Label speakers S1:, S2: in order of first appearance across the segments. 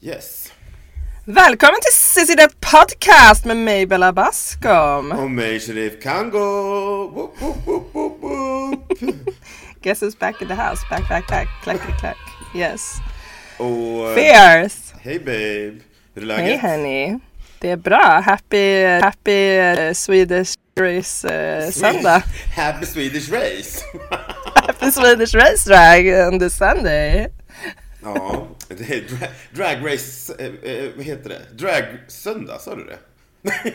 S1: Yes.
S2: Välkommen till Cissi The Podcast med mig Bella Bascom.
S1: Och mig Sheriff Kango! Woop, woop, woop, woop, woop.
S2: Guess who's back in the house? Back, back, back. Clack, clack, clack. Yes.
S1: Och... eh,
S2: Fierce.
S1: Hej babe! Hur är
S2: Hej
S1: läget?
S2: hörni. Det är bra. Happy, happy eh, Swedish Race eh, söndag.
S1: Happy Swedish race!
S2: Happy Swedish Race Drag on the Sunday.
S1: ja, det är dra- drag race... Eh, eh, vad heter det? Drag söndag, sa du det?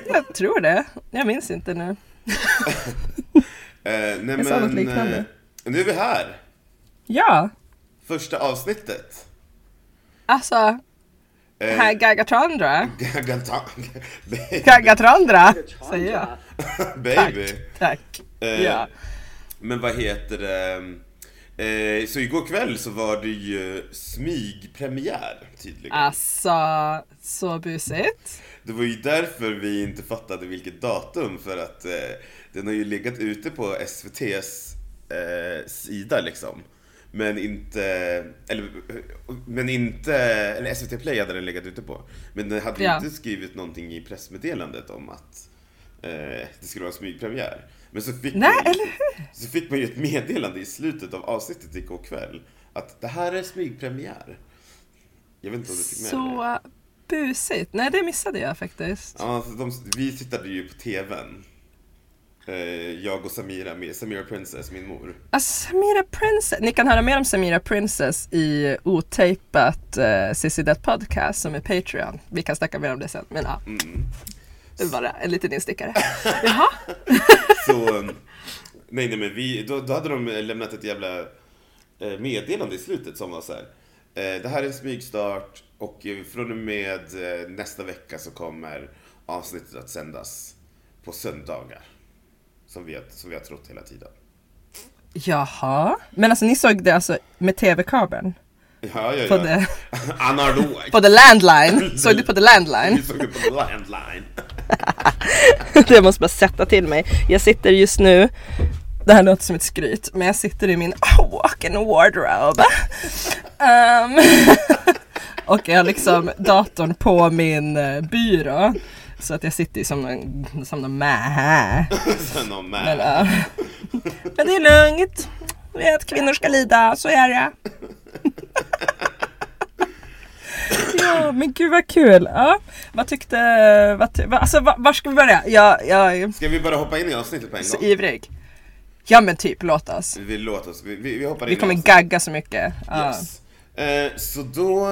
S2: Jag tror det. Jag minns inte nu.
S1: eh, nej
S2: Jag sa något
S1: men...
S2: liknande.
S1: eh, Nu är vi här!
S2: Ja,
S1: Första avsnittet.
S2: alltså.
S1: Eh,
S2: Här Gagatrandra.
S1: Gagatang. Babe.
S2: Gagatrandra, säger jag.
S1: Baby.
S2: Tack.
S1: Eh,
S2: Ja.
S1: Men vad heter det? Eh, så igår kväll så var det ju smygpremiär tydligen.
S2: Alltså, så busigt.
S1: Det var ju därför vi inte fattade vilket datum för att eh, den har ju legat ute på SVT's eh, sida liksom. Men inte, eller, men inte, eller SVT Play hade den legat ute på. Men den hade ju
S2: Ja.
S1: inte skrivit någonting i pressmeddelandet om att eh, det skulle vara smygpremiär. Men så fick,
S2: Nej,
S1: man ju,
S2: eller
S1: så fick man ju ett meddelande i slutet av avsnittet igår kväll att det här är smygpremiär. Jag vet inte om du fick med dig det.
S2: Så busigt. Nej, det missade jag faktiskt.
S1: Ja, alltså, de, vi tittade ju på TVn. Eh, jag och Samira med Samira Princess, min mor.
S2: Alltså, Samira Princess. Ni kan höra mer om Samira Princess i otejpat uh, Sissi Death Podcast som är Patreon. Vi kan snacka mer om det sen, men ja.
S1: Mm.
S2: Det var bara en liten instickare. Jaha,
S1: Så, um, nej nej men vi, då, då hade de lämnat ett jävla eh, meddelande i slutet som var så här. Eh, det här är en smygstart och eh, från och med eh, nästa vecka så kommer avsnittet att sändas på söndagar. Som vi, har- som vi har trott hela tiden.
S2: jaha. Men alltså ni såg det alltså med tv-kabeln?
S1: Ja, ja,
S2: På
S1: ja.
S2: det-
S1: Analogt.
S2: På the landline? Såg du på the landline?
S1: Vi såg det på landline.
S2: Jag måste bara sätta till mig. Jag sitter just nu, det här låter som ett skryt, men jag sitter i min walk-in wardrobe. Ehm, och jag har liksom datorn på min eh, byrå. Så att jag sitter ju som någon, som någon mähä.
S1: Sen om eh, med.
S2: Men, ja. men det är lugnt. Jag vet att kvinnor ska lida, så är det. ja, men gud vad kul. Ja, vad tyckte, vad ty, vad- alltså var, var ska vi börja? Jag, jag är
S1: Ska vi bara hoppa in i avsnittet på en
S2: så
S1: gång?
S2: ivrig. Ja men typ, låt oss.
S1: Vi, låter oss, vi, vi, vi hoppar in
S2: Vi kommer
S1: i avsnittet.
S2: gagga så mycket. Ja.
S1: Yes. Eh, så då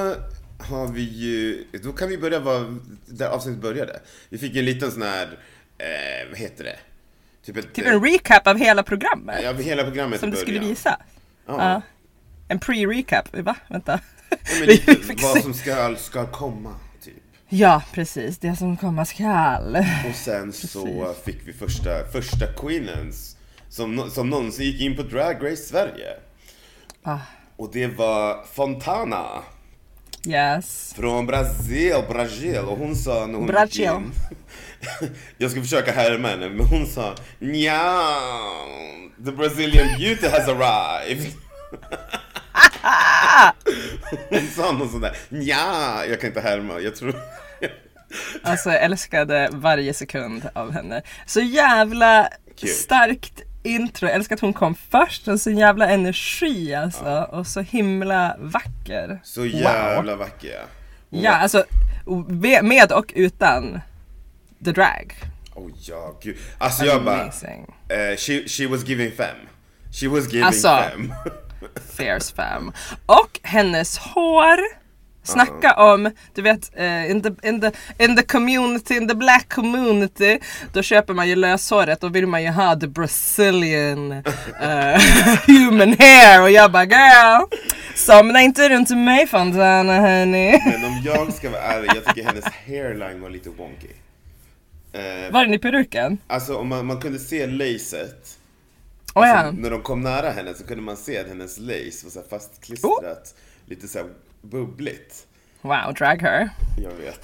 S1: har vi ju, då kan vi börja var, där avsnittet började. Vi fick ju en liten sån här, eh, vad heter det? Typ, ett,
S2: Typ en recap av hela programmet
S1: Ja, hela programmet
S2: som
S1: i
S2: du skulle
S1: början.
S2: visa.
S1: Ja.
S2: Ja. En pre-recap, va? Vänta.
S1: Ja, men
S2: Vi
S1: lite
S2: fick
S1: vad
S2: se-
S1: som ska, ska komma, typ.
S2: Ja precis, det som komma skall.
S1: Och sen så fick vi första, första queenens som, nå- som någonsin gick in på Drag Race Sverige.
S2: Ah,
S1: Och det var Fontana.
S2: yes.
S1: Från Brasil, Brasil. Och hon sa när hon gick
S2: Brasil.
S1: in- Jag ska försöka härma henne, men hon sa Nja, the Brazilian beauty has arrived. hon sa någon sån där Nja, jag kan inte härma, jag tror...
S2: Alltså jag älskade varje sekund av henne. Så jävla
S1: Cute.
S2: starkt intro. Jag älskar att hon kom först. Och så jävla energi alltså. Och så himla vacker.
S1: Så jävla vacker jag. Hon
S2: Ja,
S1: var-
S2: alltså ve- med och utan the drag.
S1: Oh ja, gud. Alltså jag bara,
S2: Amazing.
S1: eh, she, she was giving fem. She was giving
S2: Alltså.
S1: fem.
S2: Fierce fam. Och hennes hår. Snacka om, du vet, eh, in, the, in, the, in the community, in the black community, då köper man ju löshåret, då vill man ju ha the Brazilian eh, human hair och jag bara girl, somna inte runt mig Fontana hörni.
S1: Men om jag ska vara ärlig, jag tycker hennes hairline var lite wonky. Eh,
S2: Var den i peruken?
S1: Alltså om man, man kunde se lacet,
S2: Oh, ja.
S1: alltså, när de kom nära henne så kunde man se att hennes lace var så här fastklistrat,
S2: Oh.
S1: lite så här bubbligt.
S2: Wow, drag her.
S1: Jag vet.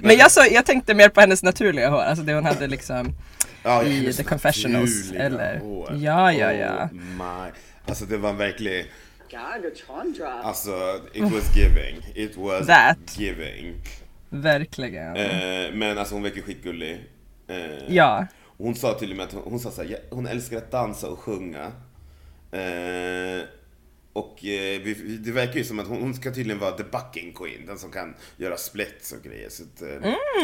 S2: Men jag, så, jag tänkte mer på hennes naturliga hår, alltså det hon hade liksom
S1: Ja,
S2: i
S1: hennes
S2: The Confessionals,
S1: naturliga
S2: eller-
S1: hår.
S2: Ja, ja, ja.
S1: Oh my. Alltså det var verkligen
S3: god, a charm drop.
S1: Alltså, it was giving. It was
S2: That.
S1: giving.
S2: Verkligen.
S1: Eh, men alltså hon verkar skitgullig. Eh,
S2: Ja.
S1: Hon sa till och med att hon, hon sa så här, "Ja, hon älskar att dansa och sjunga. Eh, och eh, vi- vi- det verkar ju som att hon, hon ska tydligen vara the bucking queen, den som kan göra splits och grejer. Så att, eh,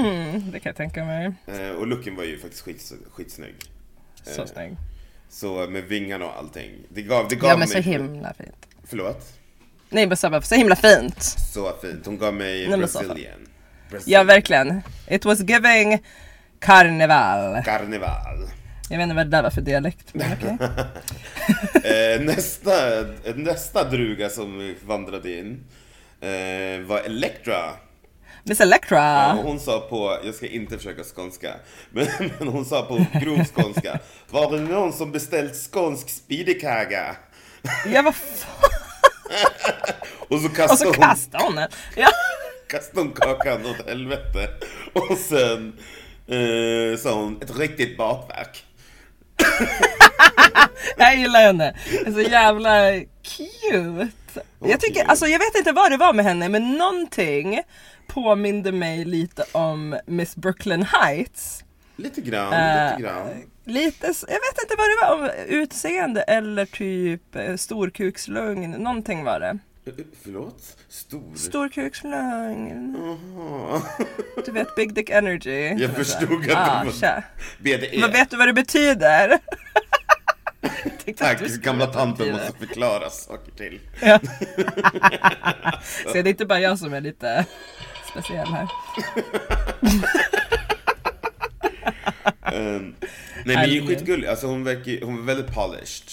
S2: Mm, det kan jag tänka mig.
S1: eh, och looken var ju faktiskt skits, skitsnygg. Eh,
S2: Så snygg.
S1: Så eh, med vingarna och allting. Det gav, det gav
S2: Ja men
S1: mig...
S2: så himla fint.
S1: Förlåt?
S2: Nej men så, bara, så himla fint.
S1: Så fint. Hon gav mig
S2: Nej, men så
S1: Brazilian.
S2: Ja
S1: Brazilian.
S2: verkligen. It was giving karneval.
S1: Karneval.
S2: Jag vet inte vad det där var för dialekt. Men okej.
S1: Eh, nästa, eh, nästa druga som vandrade in eh, var Elektra.
S2: Miss Electra.
S1: Och hon sa på, jag ska inte försöka skånska, men, men hon sa på grov skånska. Var det någon som beställt skånsk speedykaga?
S2: Ja vad fan.
S1: Och så
S2: Och
S1: kastade
S2: så
S1: hon,
S2: kastade hon den. Ja.
S1: kastade hon kakan åt helvete. Och sen eh, sa hon, ett riktigt bakverk.
S2: Jag gillar henne. Det är så jävla cute. Jag tycker,
S1: cute.
S2: alltså jag vet inte vad det var med henne men någonting påminde mig lite om Miss Brooklyn Heights.
S1: Lite grann,
S2: Eh,
S1: lite grann.
S2: Lite, s- jag vet inte vad det var, om utseende eller typ eh, storkukslugn, någonting var det.
S1: Eh, Förlåt? Stor?
S2: Storkukslugn,
S1: Jaha.
S2: du vet Big Dick Energy.
S1: Jag förstod att
S2: Ah,
S1: det var
S2: tja.
S1: BDE.
S2: Men vet du vad det betyder? Jag tänkte att
S1: Tack,
S2: du skulle
S1: gamla
S2: veta vad det
S1: tanten
S2: betyder.
S1: måste förklara saker till.
S2: Ja. Så det är inte bara jag som är lite speciell här.
S1: Ehm, nej men det är
S2: Herregud.
S1: skitgullig, alltså hon verkar hon är väldigt polished.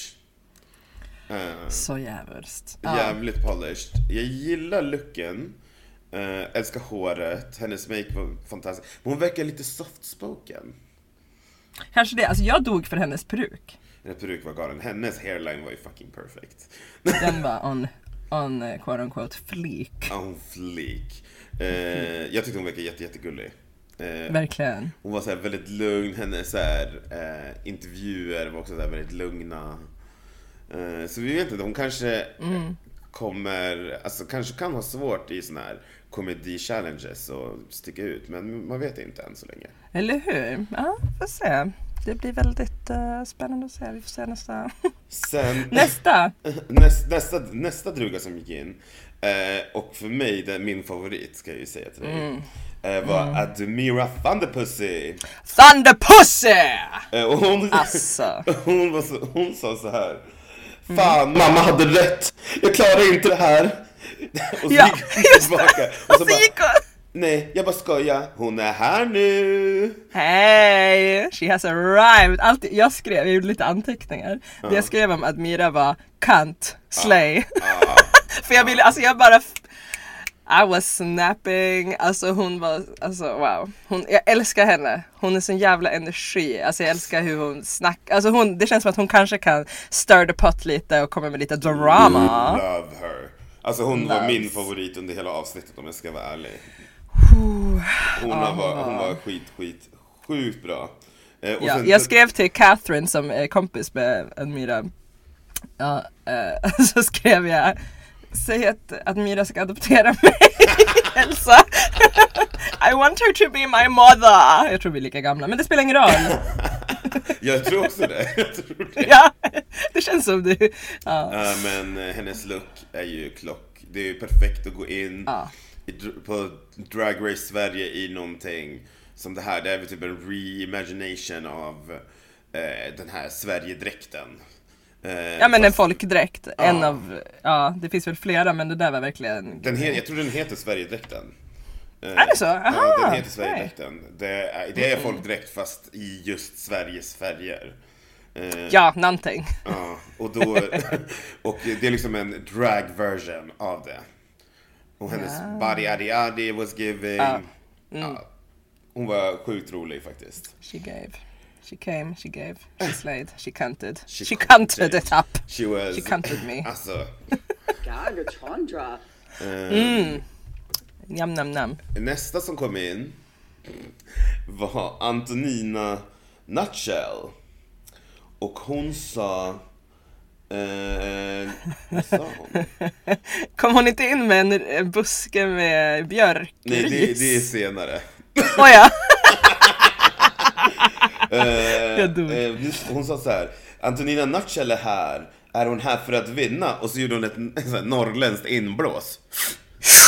S1: Ehm,
S2: Så jävligt. Ja.
S1: Jävligt polished. Jag gillar looken. Eh, älskar håret, hennes make var fantastisk. Men hon verkar lite soft-spoken.
S2: Kanske det, alltså jag dog för hennes peruk.
S1: Hennes peruk var galen, hennes hairline var ju fucking perfect.
S2: Den var on, on eh, quote unquote fleek.
S1: Ja, hon flik. Eh, jag tyckte hon verkade jätte, jättegullig. Eh,
S2: Verkligen.
S1: Hon var så här väldigt lugn, hennes så här, eh, intervjuer var också så här väldigt lugna. Eh, så vi vet inte, hon kanske eh, kommer, alltså kanske kan ha svårt i såna här komedi-challenges och sticka ut, men man vet inte än så länge.
S2: Eller hur? Ja, får se. Det blir väldigt eh, spännande att se. Vi får se nästa.
S1: Sen,
S2: nästa!
S1: näst, nästa, nästa druga som gick in, eh, och för mig den, min favorit ska jag ju säga till dig, eh, var Admira Thunderpussy.
S2: Thunderpussy!
S1: Eh, och hon,
S2: Alltså.
S1: Hon, var så, hon sa så här.
S2: Mm.
S1: Fan, mamma hade rätt. Jag klarar inte det här. Och så
S2: Ja,
S1: gick hon
S2: just
S1: tillbaka.
S2: Och så
S1: bara,
S2: gick hon!
S1: nej, jag bara skojar. Hon är här nu.
S2: Hej! She has arrived! Allt, jag skrev, jag gjorde lite anteckningar. Det jag skrev om Admira var kant, slay. För jag ville, alltså jag bara... I was snapping, alltså hon var, alltså wow. Hon, jag älskar henne, hon är sån jävla energi, alltså jag älskar hur hon snackar, alltså hon, det känns som att hon kanske kan stir the pot lite och komma med lite drama.
S1: Love her. Alltså hon var
S2: Loves.
S1: min favorit under hela avsnittet om jag ska vara ärlig. Hon,
S2: Ah.
S1: var, hon var skit, skit, sjukt bra. Eh, och
S2: Ja,
S1: sen-
S2: jag skrev till Catherine som är kompis med Admira. Ja, eh, så skrev jag Säg att Admira ska adoptera mig, Elsa. I want her to be my mother. Jag tror vi är lika gamla, men det spelar ingen roll.
S1: jag tror också det. Jag tror det.
S2: ja, det känns som du. Ja,
S1: Ja, men eh, hennes look är ju klock. Det är ju perfekt att gå in
S2: Ja.
S1: i, dr- på Drag Race Sverige i någonting som det här. Det här är väl typ en reimagination av eh, den här Sverigedräkten. Eh,
S2: ja men en
S1: fast
S2: folkdräkt. En av, ja det finns väl flera men det där var verkligen.
S1: den he- jag tror den heter Sverigedräkten. Eh,
S2: Är det så?
S1: ja, den
S2: Aha,
S1: heter Sverigedräkten. Det är, det är folkdräkt fast i just Sveriges färger. Eh,
S2: Ja, någonting.
S1: Ja, och, då, och det är liksom en drag version av det. Och hennes body adi adi was giving. Ja.
S2: Mm.
S1: Hon var sjukt rolig faktiskt.
S2: She gave. She came, she gave, she slayed, she canted.
S1: She
S2: She, canted
S1: canted.
S2: it up.
S1: She was...
S2: She canted me.
S1: Alltså,
S3: God, a charm drop.
S2: Nam nam nam.
S1: nästa som kom in var Antonina Nutshell. Och hon sa Eh, vad sa hon?
S2: Kom hon inte in med en eh, buske med björkris?
S1: Nej, det, det är senare.
S2: Nåja.
S1: Eh,
S2: Jag dog.
S1: eh, just, hon sa så här. Antonina Nutshell är här. Är hon här för att vinna? Och så gjorde hon ett så här, norrländskt inblås.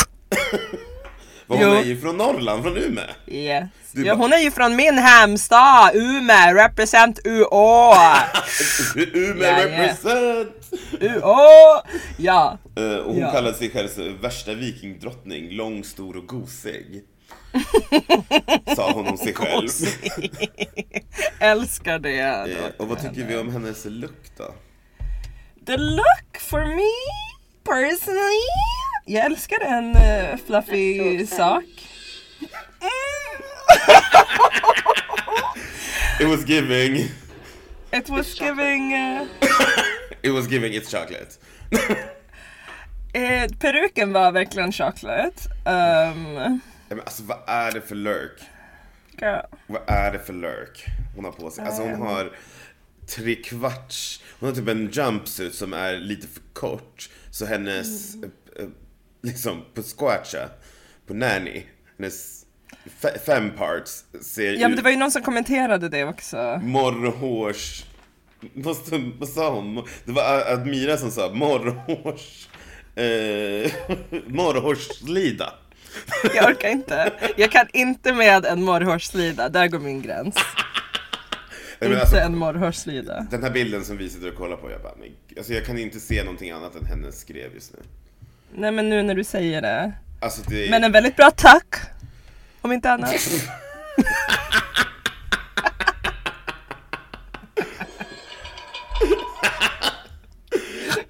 S1: Vad hon
S2: Jo.
S1: är ju från Norrland, från Umeå.
S2: Yes.
S1: Du
S2: Ja,
S1: bara-
S2: hon är ju från min hemstad, Umeå, represent UÅ.
S1: Umeå
S2: Ja, ja.
S1: represent!
S2: UÅ! Ja.
S1: Eh, och hon
S2: Ja.
S1: kallade sig själv så, värsta vikingdrottning, lång, stor och gosig. Sa hon om sig själv.
S2: Älskar det.
S1: Eh, och vad tycker vi om hennes look då?
S2: The look for me, personally. Jag älskar en eh, fluffig sak. Mm.
S1: It was giving,
S2: It was giving... eh,
S1: it was giving its chocolate.
S2: eh, peruken var verkligen chocolate. Um,
S1: Ja, Men alltså vad är det för lurk?
S2: girl.
S1: Vad är det för lurk hon har på sig? Alltså
S2: Eh.
S1: hon har tre kvarts, hon har typ en jumpsuit som är lite för kort. Så hennes,
S2: Mm.
S1: eh, eh, liksom på squatcha, på nanny, hennes fe- fem parts ser
S2: Ja men
S1: ut
S2: det var ju någon som kommenterade det också.
S1: morrhårs... Vad, stod- vad sa hon? Det var Admira som sa morrhårs... Eh, morrhårslida.
S2: Jag orkar inte. Jag kan inte med en morrhårslida, där går min gräns.
S1: Nej, men
S2: inte
S1: alltså,
S2: en morrhårslida.
S1: Den här bilden som vi sitter och kollar på, jag bara, men, alltså jag kan inte se någonting annat än hennes skrev just nu.
S2: Nej men nu när du säger det.
S1: Alltså det
S2: Men eh, en väldigt bra tack. Om inte annat.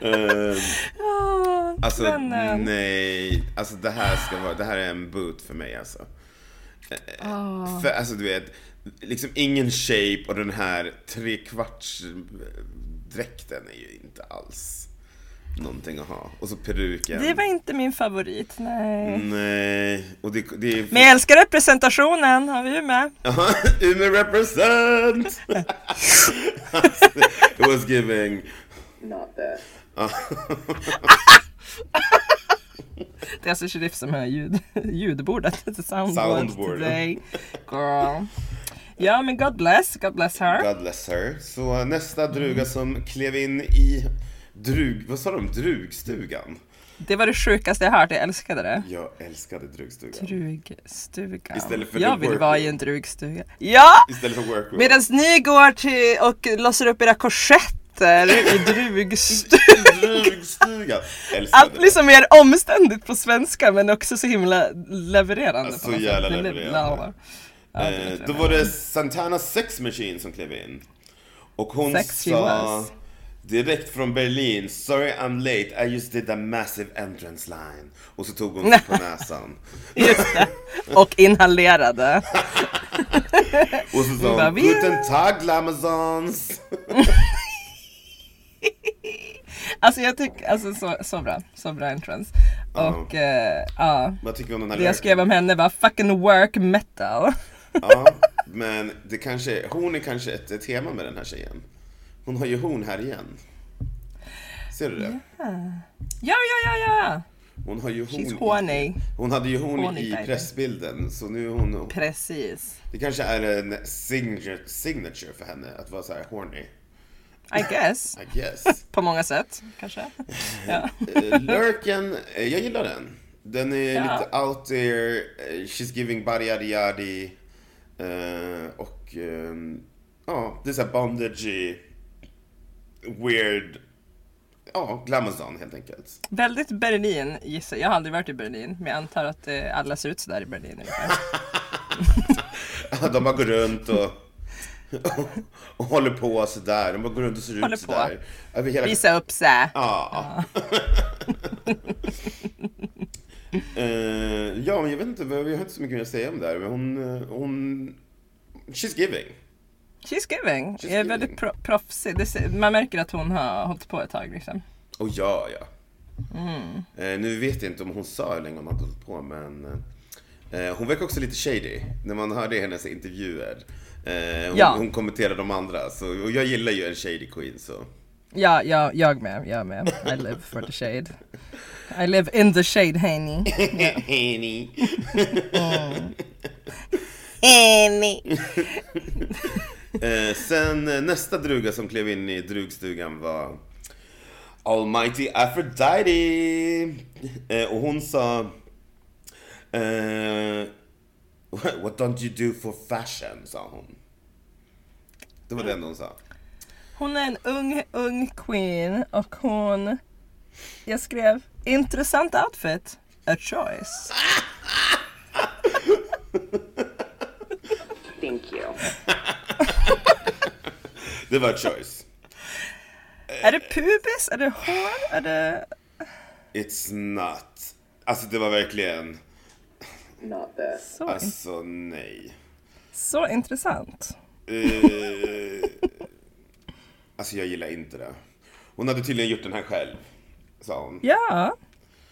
S1: eh,
S2: Ah,
S1: alltså
S2: vännen.
S1: nej, alltså det här ska vara, det här är en boot för mig alltså. Eh,
S2: Ah.
S1: För alltså du vet, liksom ingen shape och den här trekvarts eh, dräkten är ju inte alls någonting att ha. Och så peruken.
S2: Det var inte min favorit,
S1: Mm.
S2: nej.
S1: Nej, och det, det är...
S2: Men jag älskar representationen, har vi ju med.
S1: Jaha, Umeå represent! alltså, it was giving...
S3: Not that.
S2: Det är alltså sheriff som hör ljud, ljudbordet. The soundboard,
S1: Soundboard.
S2: today. Girl. Ja men God bless, God bless her.
S1: God bless her. Så nästa
S2: Mm.
S1: druga som klev in i drug... Vad sa de? Drugstugan?
S2: Det var det sjukaste jag hört, jag älskade det.
S1: Jag älskade drugstugan.
S2: Drugstuga.
S1: Istället för
S2: jag
S1: the
S2: vill
S1: work
S2: vara
S1: room.
S2: i en drugstuga. Ja!
S1: Istället för workroom.
S2: Medan ni går till och lossar upp era korsetter i drugstugan.
S1: Drugstugan! Älskade
S2: Allt liksom mer omständigt på svenska men också så himla levererande.
S1: Ja,
S2: på
S1: så
S2: något
S1: jävla
S2: sätt. Det är
S1: levererande.
S2: Ja, det
S1: Eh,
S2: vet
S1: Då
S2: jag.
S1: var det Santana Sex Machine som klev in. Och hon
S2: Sex she
S1: sa
S2: was.
S1: direkt från Berlin, sorry I'm late, I just did a massive entrance line. Och så tog hon sig på näsan.
S2: Just det. Och inhalerade.
S1: Och så sa
S2: bara,
S1: hon,
S2: "Vi-
S1: guten tag Lamazons!
S2: Alltså jag tycker, alltså så, så bra, så bra entrance. Och eh, ja,
S1: Vad tycker vi om den här
S2: det jag
S1: lurken?
S2: skrev om henne var fucking work metal.
S1: Ja, men det kanske, hon är kanske ett, ett tema med den här tjejen. Hon har ju hon här igen. Ser du det?
S2: Ja, ja, ja, ja!
S1: Hon har ju hon.
S2: She's
S1: i-
S2: horny.
S1: Hon hade ju hon
S2: Horny
S1: i
S2: baby.
S1: pressbilden, så nu är hon...
S2: Precis.
S1: Det kanske är en signature, signature för henne att vara så här horny.
S2: I guess.
S1: I guess.
S2: På många sätt, kanske. Ja.
S1: Eh, Lurken, eh, jag gillar den. Den är
S2: Ja.
S1: lite out there, eh, she's giving body yadi yadi. Eh, och ehm, ja, det är såhär bondagey, weird, ja, glamazon helt enkelt.
S2: Väldigt Berlin gissar jag. Jag har aldrig varit i Berlin, men jag antar att eh, alla ser ut sådär i Berlin. ungefär.
S1: De bara går runt och, och, håller på sådär. De bara går runt och ser
S2: Håller
S1: ut
S2: på.
S1: sådär. Över hela
S2: Visa upp sig.
S1: Ja. Eh, ja, men jag vet inte, vad- jag har inte så mycket mer att säga om det här, men hon, eh, hon... She's giving.
S2: She's giving.
S1: She's
S2: är
S1: giving.
S2: väldigt pro- proffsig. Det ser, man märker att hon har hållit på ett tag liksom.
S1: Och ja, ja. Eh, nu vet jag inte om hon sa hur länge hon hade hållit på, men... eh, hon verkar också lite shady, när man hörde hennes intervjuer. Eh, hon,
S2: Ja.
S1: hon kommenterade de andra, så, och jag gillar ju en shady queen, så...
S2: Ja, ja, jag med, jag med. I live for the shade. I live in the shade honey.
S1: Henny. Eh, sen eh, nästa druga som klev in i drugstugan var Almighty Aphrodite. Eh, och hon sa... Eh, What don't you do for fashion? sa hon. Det var det enda hon sa.
S2: Hon är en ung, ung queen och hon... Jag skrev intressant outfit. A choice.
S3: Thank you.
S1: Det var choice.
S2: Är det pubis? Är det hår? Är det...
S1: It's not. Alltså det var verkligen...
S3: Not this.
S2: Så, in-
S1: Alltså nej.
S2: så intressant.
S1: Eh, alltså jag gillar inte det. Hon hade tydligen gjort den här själv. Sa hon.
S2: Ja,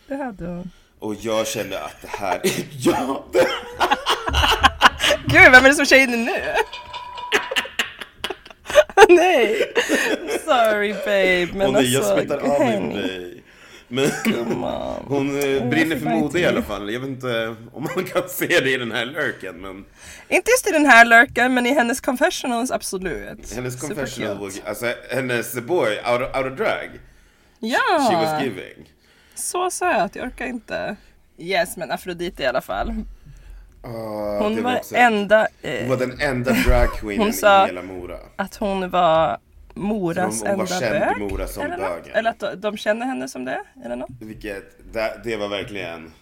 S2: det hade hon.
S1: Och jag kände att det här är... Ja! Det...
S2: Gud, vem är det som kör in det nu? Nej! Sorry babe, men
S1: Åh nej, jag
S2: alltså...
S1: smittar av mig på
S2: honey.
S1: dig. Men
S2: on.
S1: hon eh, brinner
S2: jag
S1: för
S2: fick bara
S1: mode i
S2: inte-
S1: alla fall. Jag vet inte om man kan se det i den här lurken, men
S2: Inte just i den här lurken, men i hennes confessionals absolut.
S1: hennes
S2: Super
S1: confessional,
S2: cute.
S1: was, alltså hennes boy out of, out of drag, she was
S2: Ja!
S1: giving.
S2: Så söt, jag orkar inte. Yes, men Afrodite i alla fall.
S1: Ah,
S2: Hon
S1: det
S2: var
S1: också-
S2: enda...
S1: Hon
S2: Eh,
S1: var den enda dragqueenen
S2: Hon sa-
S1: i hela Mora.
S2: att hon var Moras
S1: Hon- hon var
S2: enda
S1: känd i
S2: bög.
S1: Mora som
S2: eller, något?
S1: bögen.
S2: eller att de, de känner henne som det? Eller något?
S1: Vilket, det, det var verkligen...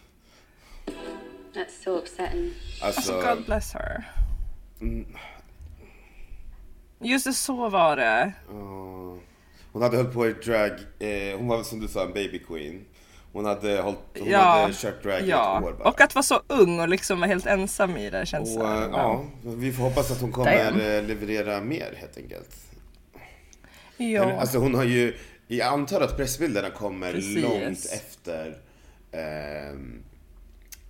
S4: That's so upsetting.
S1: Alltså,
S2: Alltså, God bless her.
S1: Mm.
S2: Just det, så var det.
S1: Ja. eh, Hon hade hållit på i drag, eh, hon var som du sa en baby queen. Hon hade, hållit, hon hade kört drag i
S2: ja.
S1: ett år bara.
S2: Och att vara så ung och liksom vara helt ensam i det känns
S1: Och,
S2: så.
S1: eh, ja, vi får hoppas att hon kommer
S2: Damn.
S1: eh, leverera mer helt enkelt.
S2: ja.
S1: Alltså hon har ju, jag antar att pressbilderna kommer
S2: Precis.
S1: långt efter ehm,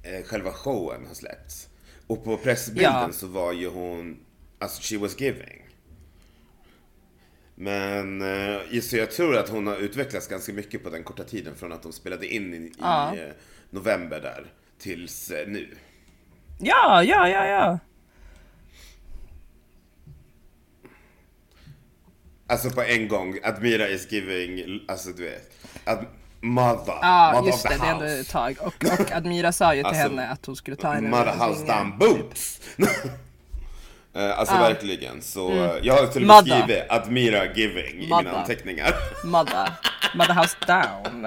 S1: eh, själva showen har släppts. Och på pressbilden
S2: Ja.
S1: så var ju hon, alltså she was giving. Men eh, så jag tror att hon har utvecklats ganska mycket på den korta tiden från att de spelade in i, i
S2: Ja.
S1: eh, november där tills eh, nu.
S2: ja, ja, ja, ja.
S1: Alltså på en gång, Admira is giving, alltså du vet. Ad- mother,
S2: Ja,
S1: mother
S2: just
S1: of
S2: det,
S1: the
S2: det är ändå
S1: house.
S2: ett tag. Och, och Admira sa ju till
S1: Alltså,
S2: henne att hon skulle ta henne
S1: Mother
S2: under
S1: house down
S2: vingen.
S1: boots! Eh, alltså verkligen, så eh, jag har till och med
S2: Mother.
S1: skrivit Admira giving i mina
S2: Mother.
S1: anteckningar.
S2: Mother. Mother house down.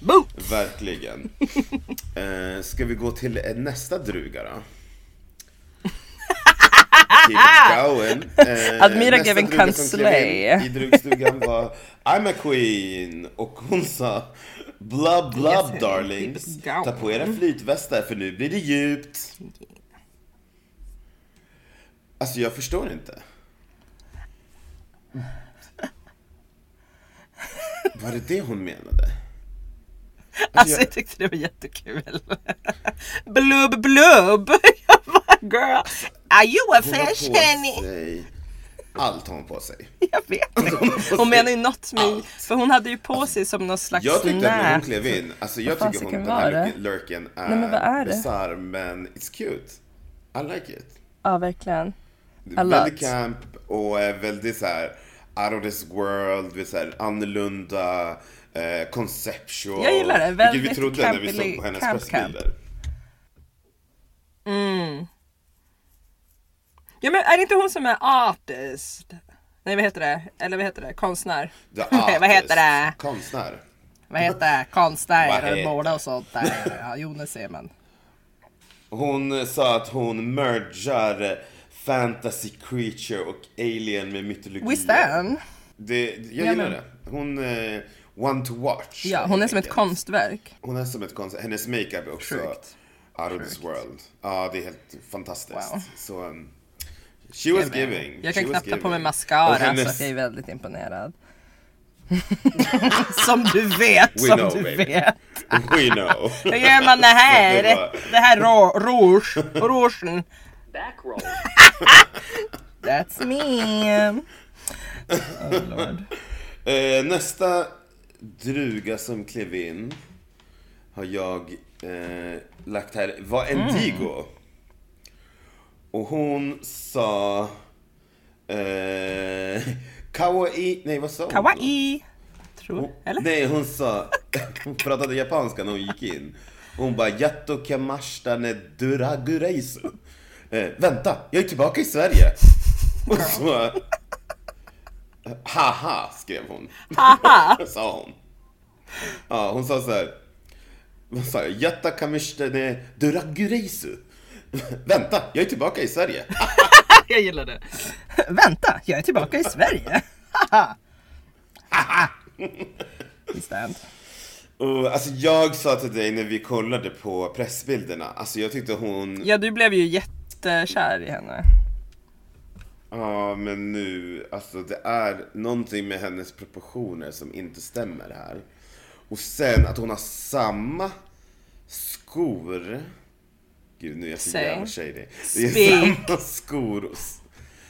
S2: Boot!
S1: verkligen. Eh, ska vi gå till eh, nästa druga då? Keep it going. Eh,
S2: Admira
S1: nästa
S2: giving
S1: druga
S2: can
S1: som klev in
S2: slay.
S1: I drugstugan var I'm a queen och hon sa Blub blub
S2: Yes,
S1: darlings,
S2: keep it going.
S1: ta på era flytvästar för nu blir det djupt. Alltså jag förstår inte. Var det det hon menade?
S2: Alltså jag tyckte det var jättekul. Blubb blubb! Jag bara girl, are you a
S1: Hon har
S2: fish
S1: på
S2: honey?
S1: sig allt har hon på sig.
S2: Jag vet inte. Hon menar ju något med, för hon hade ju på sig som någon slags
S1: Alltså, Jag tyckte att när hon
S2: nät.
S1: klev in, alltså jag
S2: Vad
S1: tycker hon,
S2: fasiken
S1: den här
S2: var det?
S1: lurken- lurken är,
S2: Nej, men vad är det?
S1: bisarr men it's cute. I like it.
S2: Ja verkligen. A lot.
S1: Väldigt camp och eh, väldigt så här out of this world, du vet så här annorlunda, eh, conceptual.
S2: Jag gillar det.
S1: Vilket vi
S2: Väldigt
S1: trodde när vi
S2: campily-
S1: såg på hennes
S2: camp,
S1: pressbilder.
S2: Ja men är det inte hon som är artist? Nej vad heter det? Eller vad heter det? Konstnär?
S1: The
S2: Nej, vad heter det?
S1: artist, Konstnär.
S2: Vad heter det? Konstnär
S1: Vad
S2: eller
S1: heter-
S2: måla och sånt där. Ja, Jonas ser man.
S1: Hon eh, sa att hon mergar eh, fantasy creature och alien med mytologi.
S2: Visst är han?
S1: Det, jag
S2: Ja,
S1: gillar
S2: men-
S1: det. Hon eh, one to watch.
S2: Ja, hon
S1: helt
S2: är som ett
S1: enkelt.
S2: konstverk.
S1: Hon är som ett konst. Hennes makeup är också
S2: Sjukt.
S1: out of this world. Ja, det är helt fantastiskt.
S2: Wow.
S1: Så, um, she was
S2: Jag med.
S1: giving.
S2: Jag
S1: she was
S2: kan knappt ta på
S1: giving.
S2: mig
S1: Och
S2: mascara så
S1: hennes-
S2: att jag är väldigt imponerad. som du vet,
S1: We
S2: som
S1: know,
S2: du
S1: baby.
S2: vet.
S1: We know.
S2: Hur gör man det här?
S1: Det var-
S2: Det här rå- rouge, rougen.
S3: Back roll.
S2: That's me. Oh, Lord.
S1: Eh, nästa druga som klev in har jag eh, lagt här var
S2: Mm.
S1: Endigo. Och hon sa... Eh, kawaii... Nej, vad sa hon?
S2: Kawaii!
S1: Hon,
S2: Tror, eller?
S1: nej, hon sa... Hon pratade japanska när hon gick in. Hon bara Yato kamashita ne duragureisu. Eh, vänta, jag är tillbaka i Sverige! Och så... Haha, skrev hon.
S2: Haha!
S1: sa hon. Ja, hon sa så här. Vad sa jag? Jatta kamershtene duragureisu. Vänta, jag är tillbaka i Sverige.
S2: Jag gillar det. Vänta, jag är tillbaka i Sverige. Haha. Visst är det.
S1: Och, alltså jag sa till dig när vi kollade på pressbilderna, alltså jag tyckte hon,
S2: Ja, du blev ju jättekär i henne.
S1: ja men nu, alltså det är någonting med hennes proportioner som inte stämmer här. Och sen att hon har samma skor. Gud nu är jag så
S2: Säg.
S1: jävla shady. Det är
S2: Speak.
S1: samma skor s-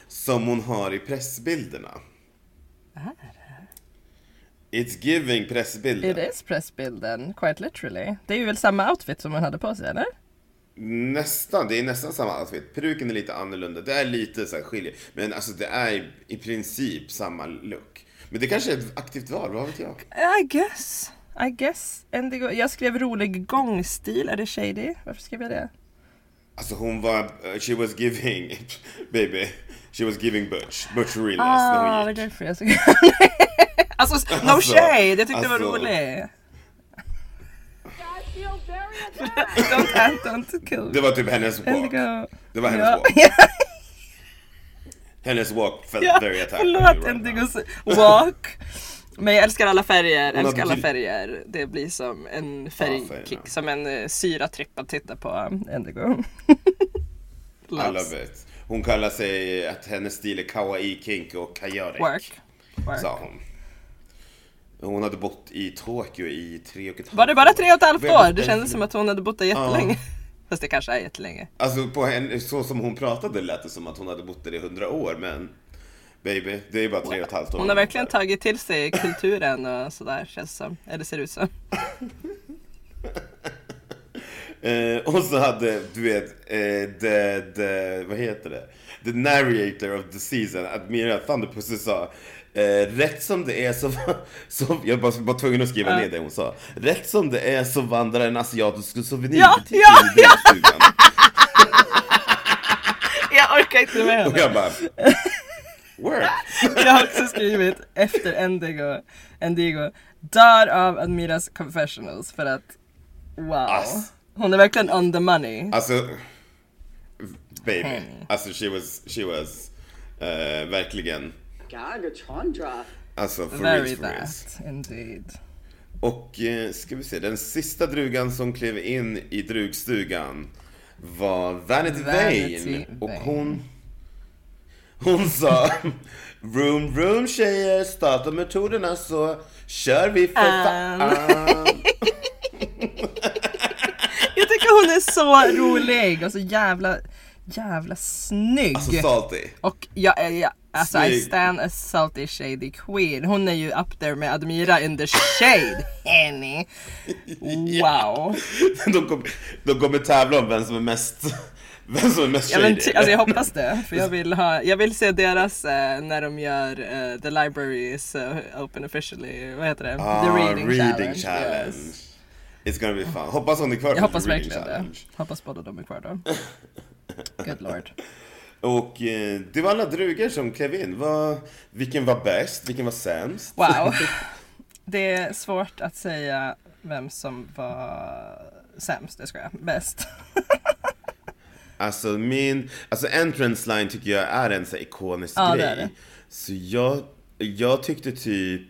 S1: som hon har i pressbilderna. It's giving pressbilder.
S2: It is pressbilden, quite literally. Det är ju väl samma outfit som hon hade på sig, eller?
S1: Nästan, det är nästan samma outfit. Peruken är lite annorlunda, det är lite så här skiljer. Men alltså det är i princip samma look. Men det kanske är ett aktivt val, vad vet jag?
S2: I guess. I guess. Indigo. Jag skrev rolig gångstil, är det shady? Varför skrev jag det?
S1: Alltså hon var, eh, she was giving, baby, she was giving butch, butcherinas
S2: Ah,
S1: när
S2: det
S1: hon
S2: var
S1: gick.
S2: därför jag såg Alltså, no
S1: Alltså,
S2: shade! Jag tyckte det
S1: alltså.
S2: var rolig. don't, don't, don't kill
S1: Det var typ hennes walk.
S2: Indigo.
S1: Det var hennes
S2: ja.
S1: walk.
S2: Ja,
S1: Hennes walk felt
S2: ja.
S1: very attacking.
S2: Förlåt
S1: right now.
S2: Indigos walk. Men jag älskar alla färger,
S1: har
S2: älskar alla
S1: betyd-
S2: färger. Det blir som en
S1: färgerna.
S2: färgkick, som en eh, syratripp att titta på um, Indigo.
S1: I
S2: Loves.
S1: love it. Hon kallar sig att hennes stil är kawaii, kink och chaotic.
S2: Work. Work.
S1: Sa hon. Hon hade bott i Tokyo i tre och ett halvt
S2: Var det bara tre och ett halvt
S1: Vem har
S2: år? Det
S1: ställt
S2: kändes
S1: det?
S2: som att hon hade bott där jättelänge. Fast det kanske är jättelänge.
S1: Alltså på henne, så som hon pratade lät det som att hon hade bott där i hundra år men Baby, det är bara tre och ett halvt år
S2: Hon har verkligen
S1: där.
S2: tagit till sig kulturen och sådär känns som. Eller ser ut som.
S1: eh, Och så hade, du vet, eh, the, the, vad heter det? The narrator of the season, Admira Thunderpussy sa eh, Rätt som det är så, så jag var bara tvungen att skriva
S2: Ja.
S1: ner det hon sa Rätt som det är så vandrar en asiatisk souvenirbutik
S2: Ja, ja,
S1: in i drömstugan
S2: Jag orkar inte med
S1: Och
S2: henne.
S1: jag bara Work!
S2: Jag har också skrivit efter Endigo, Endigo dör av Admiras confessionals för att wow.
S1: Ass.
S2: Hon är verkligen on the money.
S1: Alltså, baby.
S2: Hey.
S1: Alltså she was, she was eh, verkligen,
S3: Gaga Chandra.
S1: alltså for reals,
S2: Very
S1: for reals.
S2: that indeed.
S1: Och eh, ska vi se, den sista drugan som klev in i drugstugan var Vanity,
S2: Vanity
S1: Vane. Och
S2: Vane.
S1: hon, hon sa Room, room tjejer, starta metoderna så kör vi för fan.
S2: Jag tycker hon är så rolig och så jävla, jävla snygg.
S1: Alltså salty.
S2: Och jag, är- jag alltså I
S1: Snygg.
S2: stand a salty shady queen. Hon är ju up there med Admira in the shade, Henny. Wow.
S1: De kommer, de kommer tävla om vem som är mest, vem som är mest
S2: Jag, men,
S1: shady.
S2: ty- alltså, jag hoppas det, för jag vill, ha, jag vill se deras eh, när de gör eh, The Library is eh, open officially, vad heter det?
S1: Ah,
S2: the Reading, Challenge.
S1: challenge.
S2: yes.
S1: It's gonna be fun. Hoppas hon är kvar
S2: Jag
S1: på
S2: hoppas
S1: the reading
S2: verkligen
S1: challenge.
S2: det. Hoppas båda de är kvar då. Good lord.
S1: Och eh, det var alla drugor som klev in. Vad- vilken var bäst? Vilken var sämst?
S2: Wow. Det är svårt att säga vem som var sämst, det ska jag. Bäst.
S1: Alltså min, alltså entrance line tycker jag är en så här ikonisk
S2: Ja, det
S1: grej.
S2: är det.
S1: Så jag, jag tyckte typ,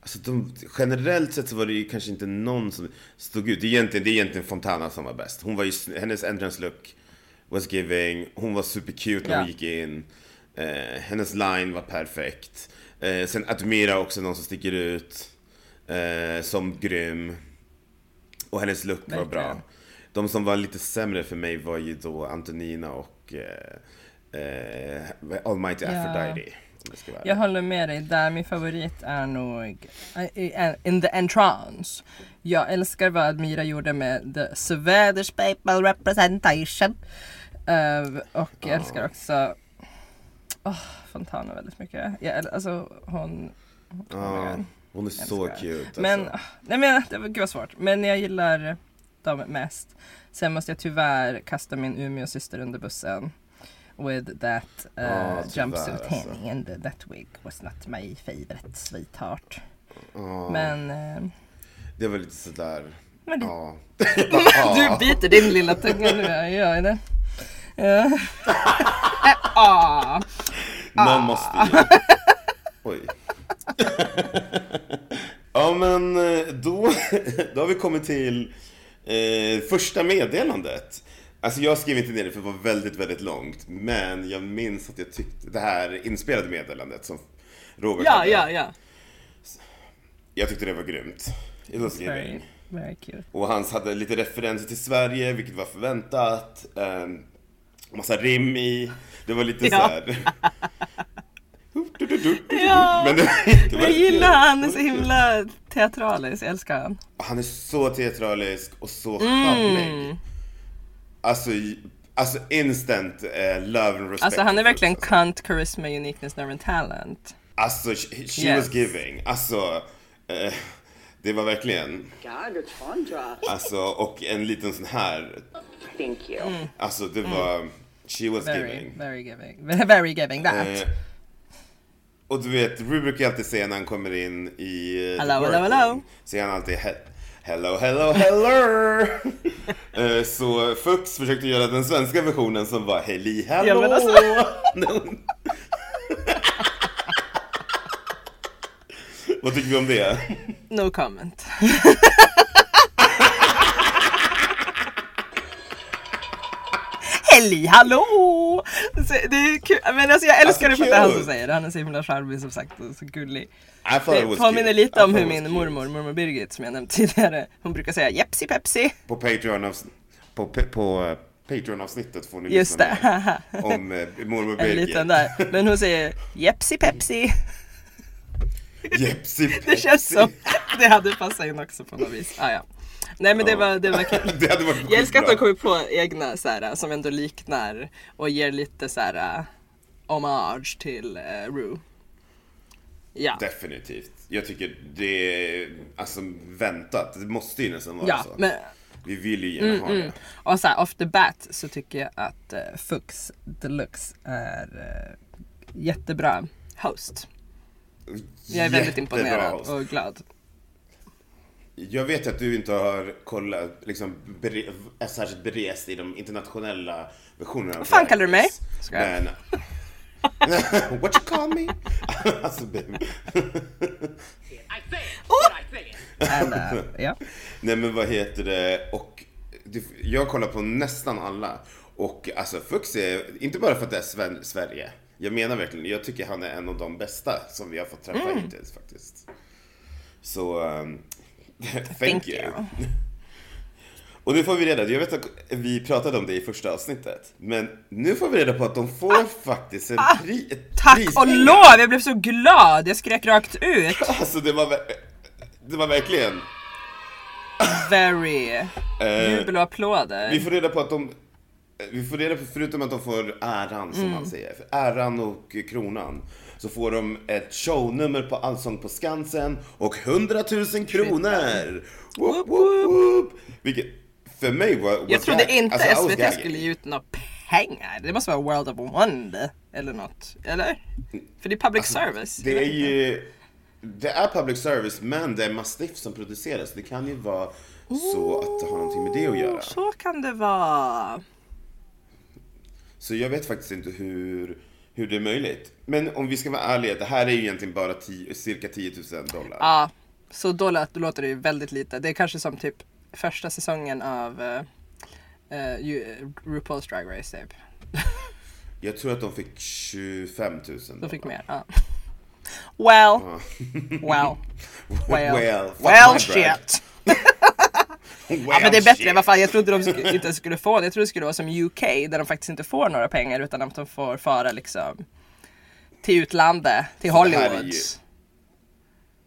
S1: alltså de, generellt sett så var det ju kanske inte någon som stod ut. Det är egentligen, det är egentligen Fontana som var bäst. Hon var ju, sn- hennes entrance look was giving, hon var super cute när hon
S2: Ja.
S1: gick in. Eh, hennes line var perfekt. Eh, sen Admira också någon som sticker ut eh, som grym. Och hennes look var
S2: Verkligen.
S1: bra. De som var lite sämre för mig var ju då Antonina och eh, eh, Almighty
S2: Ja.
S1: Aphrodite. om jag ska vara
S2: Jag
S1: ärlig.
S2: håller med dig där, min favorit är nog eh, eh, In the Entrance. Jag älskar vad Admira gjorde med The Swedish People Representation. Eh, och jag älskar också oh, Fontana väldigt mycket. Jag, äl- alltså hon... Oh
S1: Ja, hon är så
S2: Älskar.
S1: cute. Alltså.
S2: Men, ah, nej men det var, gud vad svårt. Men jag gillar dem mest. Sen måste jag tyvärr kasta min Umeå-syster under bussen. With that eh,
S1: Ja, tyvärr,
S2: jumpsuit
S1: alltså.
S2: hanging and that wig was not my favorite sweetheart.
S1: Ja,
S2: Men, eh,
S1: Det var lite sådär.
S2: men det,
S1: Ja.
S2: du biter din lilla tunga nu, jag gör det. Ja. Ah.
S1: Man måste ju. Oj. ja men eh, då, då har vi kommit till eh, första meddelandet. Alltså jag skrev inte ner det för det var väldigt, väldigt långt. Men jag minns att jag tyckte det här inspelade meddelandet som Robert
S2: Ja,
S1: hade,
S2: ja, ja.
S1: Jag tyckte det var grymt. It was
S2: Very,
S1: giving.
S2: very cute.
S1: Och hans hade lite referenser till Sverige, vilket var förväntat. Eh, massa rim i. Det var lite
S2: Ja.
S1: såhär...
S2: Ja.
S1: Men det, det var
S2: Jag
S1: kul.
S2: gillar han, han är så himla teatralisk, jag älskar han.
S1: Han är så teatralisk och så
S2: Mm.
S1: charmig. Alltså, j- alltså instant eh, love and respect.
S2: Alltså han är verkligen cunt, charisma, uniqueness, nerve and talent.
S1: Alltså, she, she
S2: Yes.
S1: was giving. Alltså, eh, det var verkligen.
S3: Gaga Chandra.
S1: Alltså, och en liten sån här.
S3: Thank you.
S1: Alltså, det var... She was
S2: Mm. Very,
S1: giving.
S2: very giving. Very giving that.
S1: Eh, och du vet, Rubrik är alltid sen när han kommer in i... eh,
S2: Hello, hello,
S1: workroom.
S2: hello.
S1: Så är han alltid he- hello, hello, hello. Eh, så Fux försökte göra den svenska versionen som var heli hello.
S2: Ja, men alltså.
S1: Vad tycker vi om det?
S2: No comment. Hej hallå! Så Det är kul. Men alltså jag älskar det
S1: Alltså,
S2: för att det är han som
S1: kul.
S2: säger det. Han är så himla charmig som sagt och så gullig.
S1: I thought it
S2: Det
S1: was
S2: påminner
S1: cute.
S2: lite
S1: I
S2: om
S1: thought
S2: hur
S1: it was
S2: min
S1: cute.
S2: mormor, mormor Birgit som jag nämnt tidigare, hon brukar säga Jepsi Pepsi.
S1: På Patreon av, på, pe- på eh, Patreon-avsnittet får ni
S2: Just
S1: lyssna mer
S2: det.
S1: om eh, mormor
S2: En
S1: Birgit.
S2: liten där. Men hon säger Jepsi Pepsi.
S1: Jepsi
S2: Det känns som det hade passat in också på något vis. Ah, ja. Nej men det var, det var kul.
S1: Det hade varit
S2: Jag älskar att de
S1: skitbra.
S2: kommer på egna så här, som ändå liknar och ger lite så här eh, hommage till uh, Rue. Ja.
S1: Definitivt. Jag tycker det är alltså väntat. Det måste ju nästan vara
S2: ja
S1: så.
S2: men, Mm,
S1: Vi vill ju gärna ha alltså- det.
S2: och så här, off the bat så tycker jag att uh, Fux Deluxe är eh, jättebra host. Jag är väldigt
S1: Jättebra
S2: imponerad
S1: host.
S2: och glad.
S1: Jag vet att du inte har kollat, liksom, bere, är särskilt berest i de internationella versionerna. Vad
S2: fan kallar du mig? Ska jag?
S1: Men... What you call me? alltså, baby.
S3: I say it. What I say it.
S2: And, eh, ja.
S1: Nej men vad heter det? Och det, jag kollar på nästan alla. Och alltså Fux är, inte bara för att det är Sven, Sverige. Jag menar verkligen, jag tycker han är en av de bästa som vi har fått träffa
S2: Mm.
S1: hittills faktiskt. Så, um, thank,
S2: Thank
S1: you.
S2: you.
S1: Och nu får vi reda, jag vet att vi pratade om det i första avsnittet. Men nu får vi reda på att de får faktiskt en pri, ett
S2: Ah! Tack
S1: pris.
S2: och lov! Jag blev så glad! Jag skrek rakt ut.
S1: Alltså det var, ver- det var verkligen
S2: Very.
S1: Eh,
S2: Jubel och applåder.
S1: Vi får reda på att de... Vi får reda på, förutom att de får äran
S2: Mm.
S1: som man säger, för äran och kronan, så får de ett shownummer på Allsång på Skansen och 100 000 kronor! Woop, woop, woop. Vilket för mig var... was
S2: Jag trodde
S1: gag-
S2: inte
S1: alltså, I was
S2: SVT
S1: gagging.
S2: skulle ge ut några pengar. Det måste vara World of Wonder eller något. Eller? För det är public service.
S1: Alltså, Det är ju... Det är public service, men det är Mastiff som producerar, så det kan ju vara så att det har någonting med det att göra.
S2: Så kan det vara.
S1: Så jag vet faktiskt inte hur, hur det är möjligt. Men om vi ska vara ärliga, det här är ju egentligen bara 10 cirka 10 000 dollar.
S2: Ja, så då låter, låter det ju väldigt lite. Det är kanske som typ första säsongen av eh, eh, ju- RuPaul's Drag Race typ.
S1: Jag tror att de fick 25 000 dollar.
S2: De fick mer. Ja. Well,
S1: Ja.
S2: well, well,
S1: Well, fuck my
S2: well
S1: drag.
S2: shit.
S1: Well,
S2: Ja men det är bättre,
S1: shit.
S2: vad fan, jag trodde de skulle, inte ens skulle få det. Jag trodde det skulle vara som UK där de faktiskt inte får några pengar utan att de får fara liksom till utlandet, till
S1: Så det här är
S2: Hollywood.
S1: ju-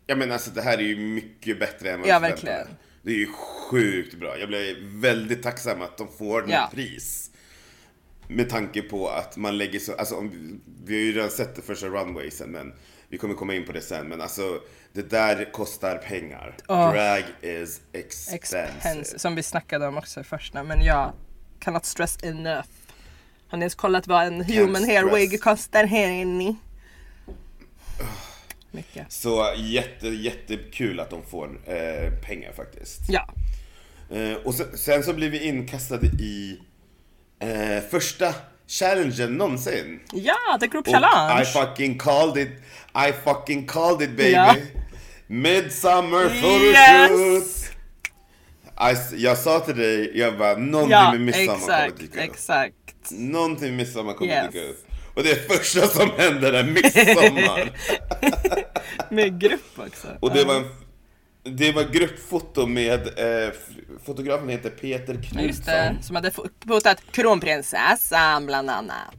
S1: Ja men alltså det här är ju mycket bättre än vad
S2: Ja,
S1: jag förväntade mig.
S2: verkligen.
S1: Det är ju sjukt bra. Jag blev väldigt tacksam att de får något
S2: Ja.
S1: pris. Med tanke på att man lägger så, alltså om, vi har ju redan sett det första runwaysen men vi kommer komma in på det sen men alltså det där kostar pengar.
S2: Ja.
S1: Drag is expensive.
S2: Expense, som vi snackade om också i första, men jag cannot stress enough. Har ni ens kollat vad en human hair
S1: stress.
S2: wig kostar här inne? Mycket.
S1: Så jätte, jättekul att de får eh, pengar faktiskt.
S2: Ja,
S1: Eh, och sen, sen så blir vi inkastade i eh, första challengen någonsin.
S2: ja, The Group
S1: Och
S2: Challenge.
S1: I fucking called it, I fucking called it baby.
S2: Ja.
S1: Midsummer
S2: Yes!
S1: photoshoot! I s- jag sa till dig, jag bara någonting
S2: Ja,
S1: med midsommar kommer
S2: exakt,
S1: dyka upp.
S2: exakt.
S1: Någonting med midsommar kommer
S2: Yes.
S1: dyka upp. Och det är första som händer är midsommar.
S2: Med grupp också.
S1: Och det var, en, det var gruppfoto med, eh, f- fotografen heter Peter
S2: Ja, Just det,
S1: Knutsson.
S2: Mm, som hade fotat kronprinsessan bland annat.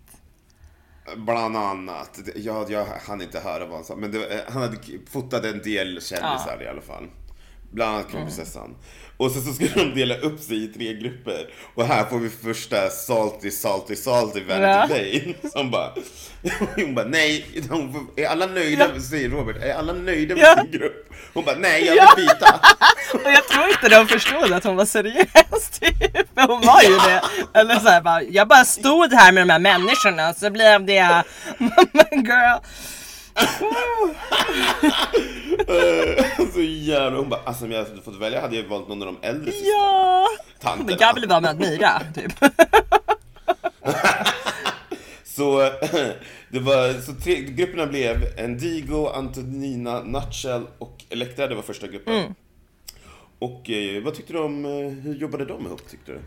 S1: Bland annat. Jag, jag hann inte höra vad han sa. Men det, var- eh, han hade k- fotat en del kändisar i alla fall. Bland
S2: Mm.
S1: annat kronprinsessan. Och sen så skulle de dela upp sig i tre grupper. Och här får vi första salty, salty, salty Vanity
S2: Ja.
S1: Plane. Som bara... Hon bara nej, de, får- är alla nöjda,
S2: Ja.
S1: säger Robert, är alla nöjda med
S2: Ja.
S1: sin grupp? Hon bara nej, jag vill byta.
S2: Och jag tror inte de förstod att hon var seriös typ. För hon var ju det. Eller så här, bara, jag bara stod här med de här människorna så blev det mamma girl.
S1: Eh, så jävla... Hon bara alltså om jag hade fått välja hade jag valt någon av de äldre
S2: Ja.
S1: tanterna.
S2: Jag ville vara med Mira typ.
S1: Så, det var, så tre, grupperna blev Endigo, Antonina, Nutshell och Elektra, det var första gruppen.
S2: Mm.
S1: Och eh, vad tyckte du om, eh, hur jobbade de ihop tyckte du?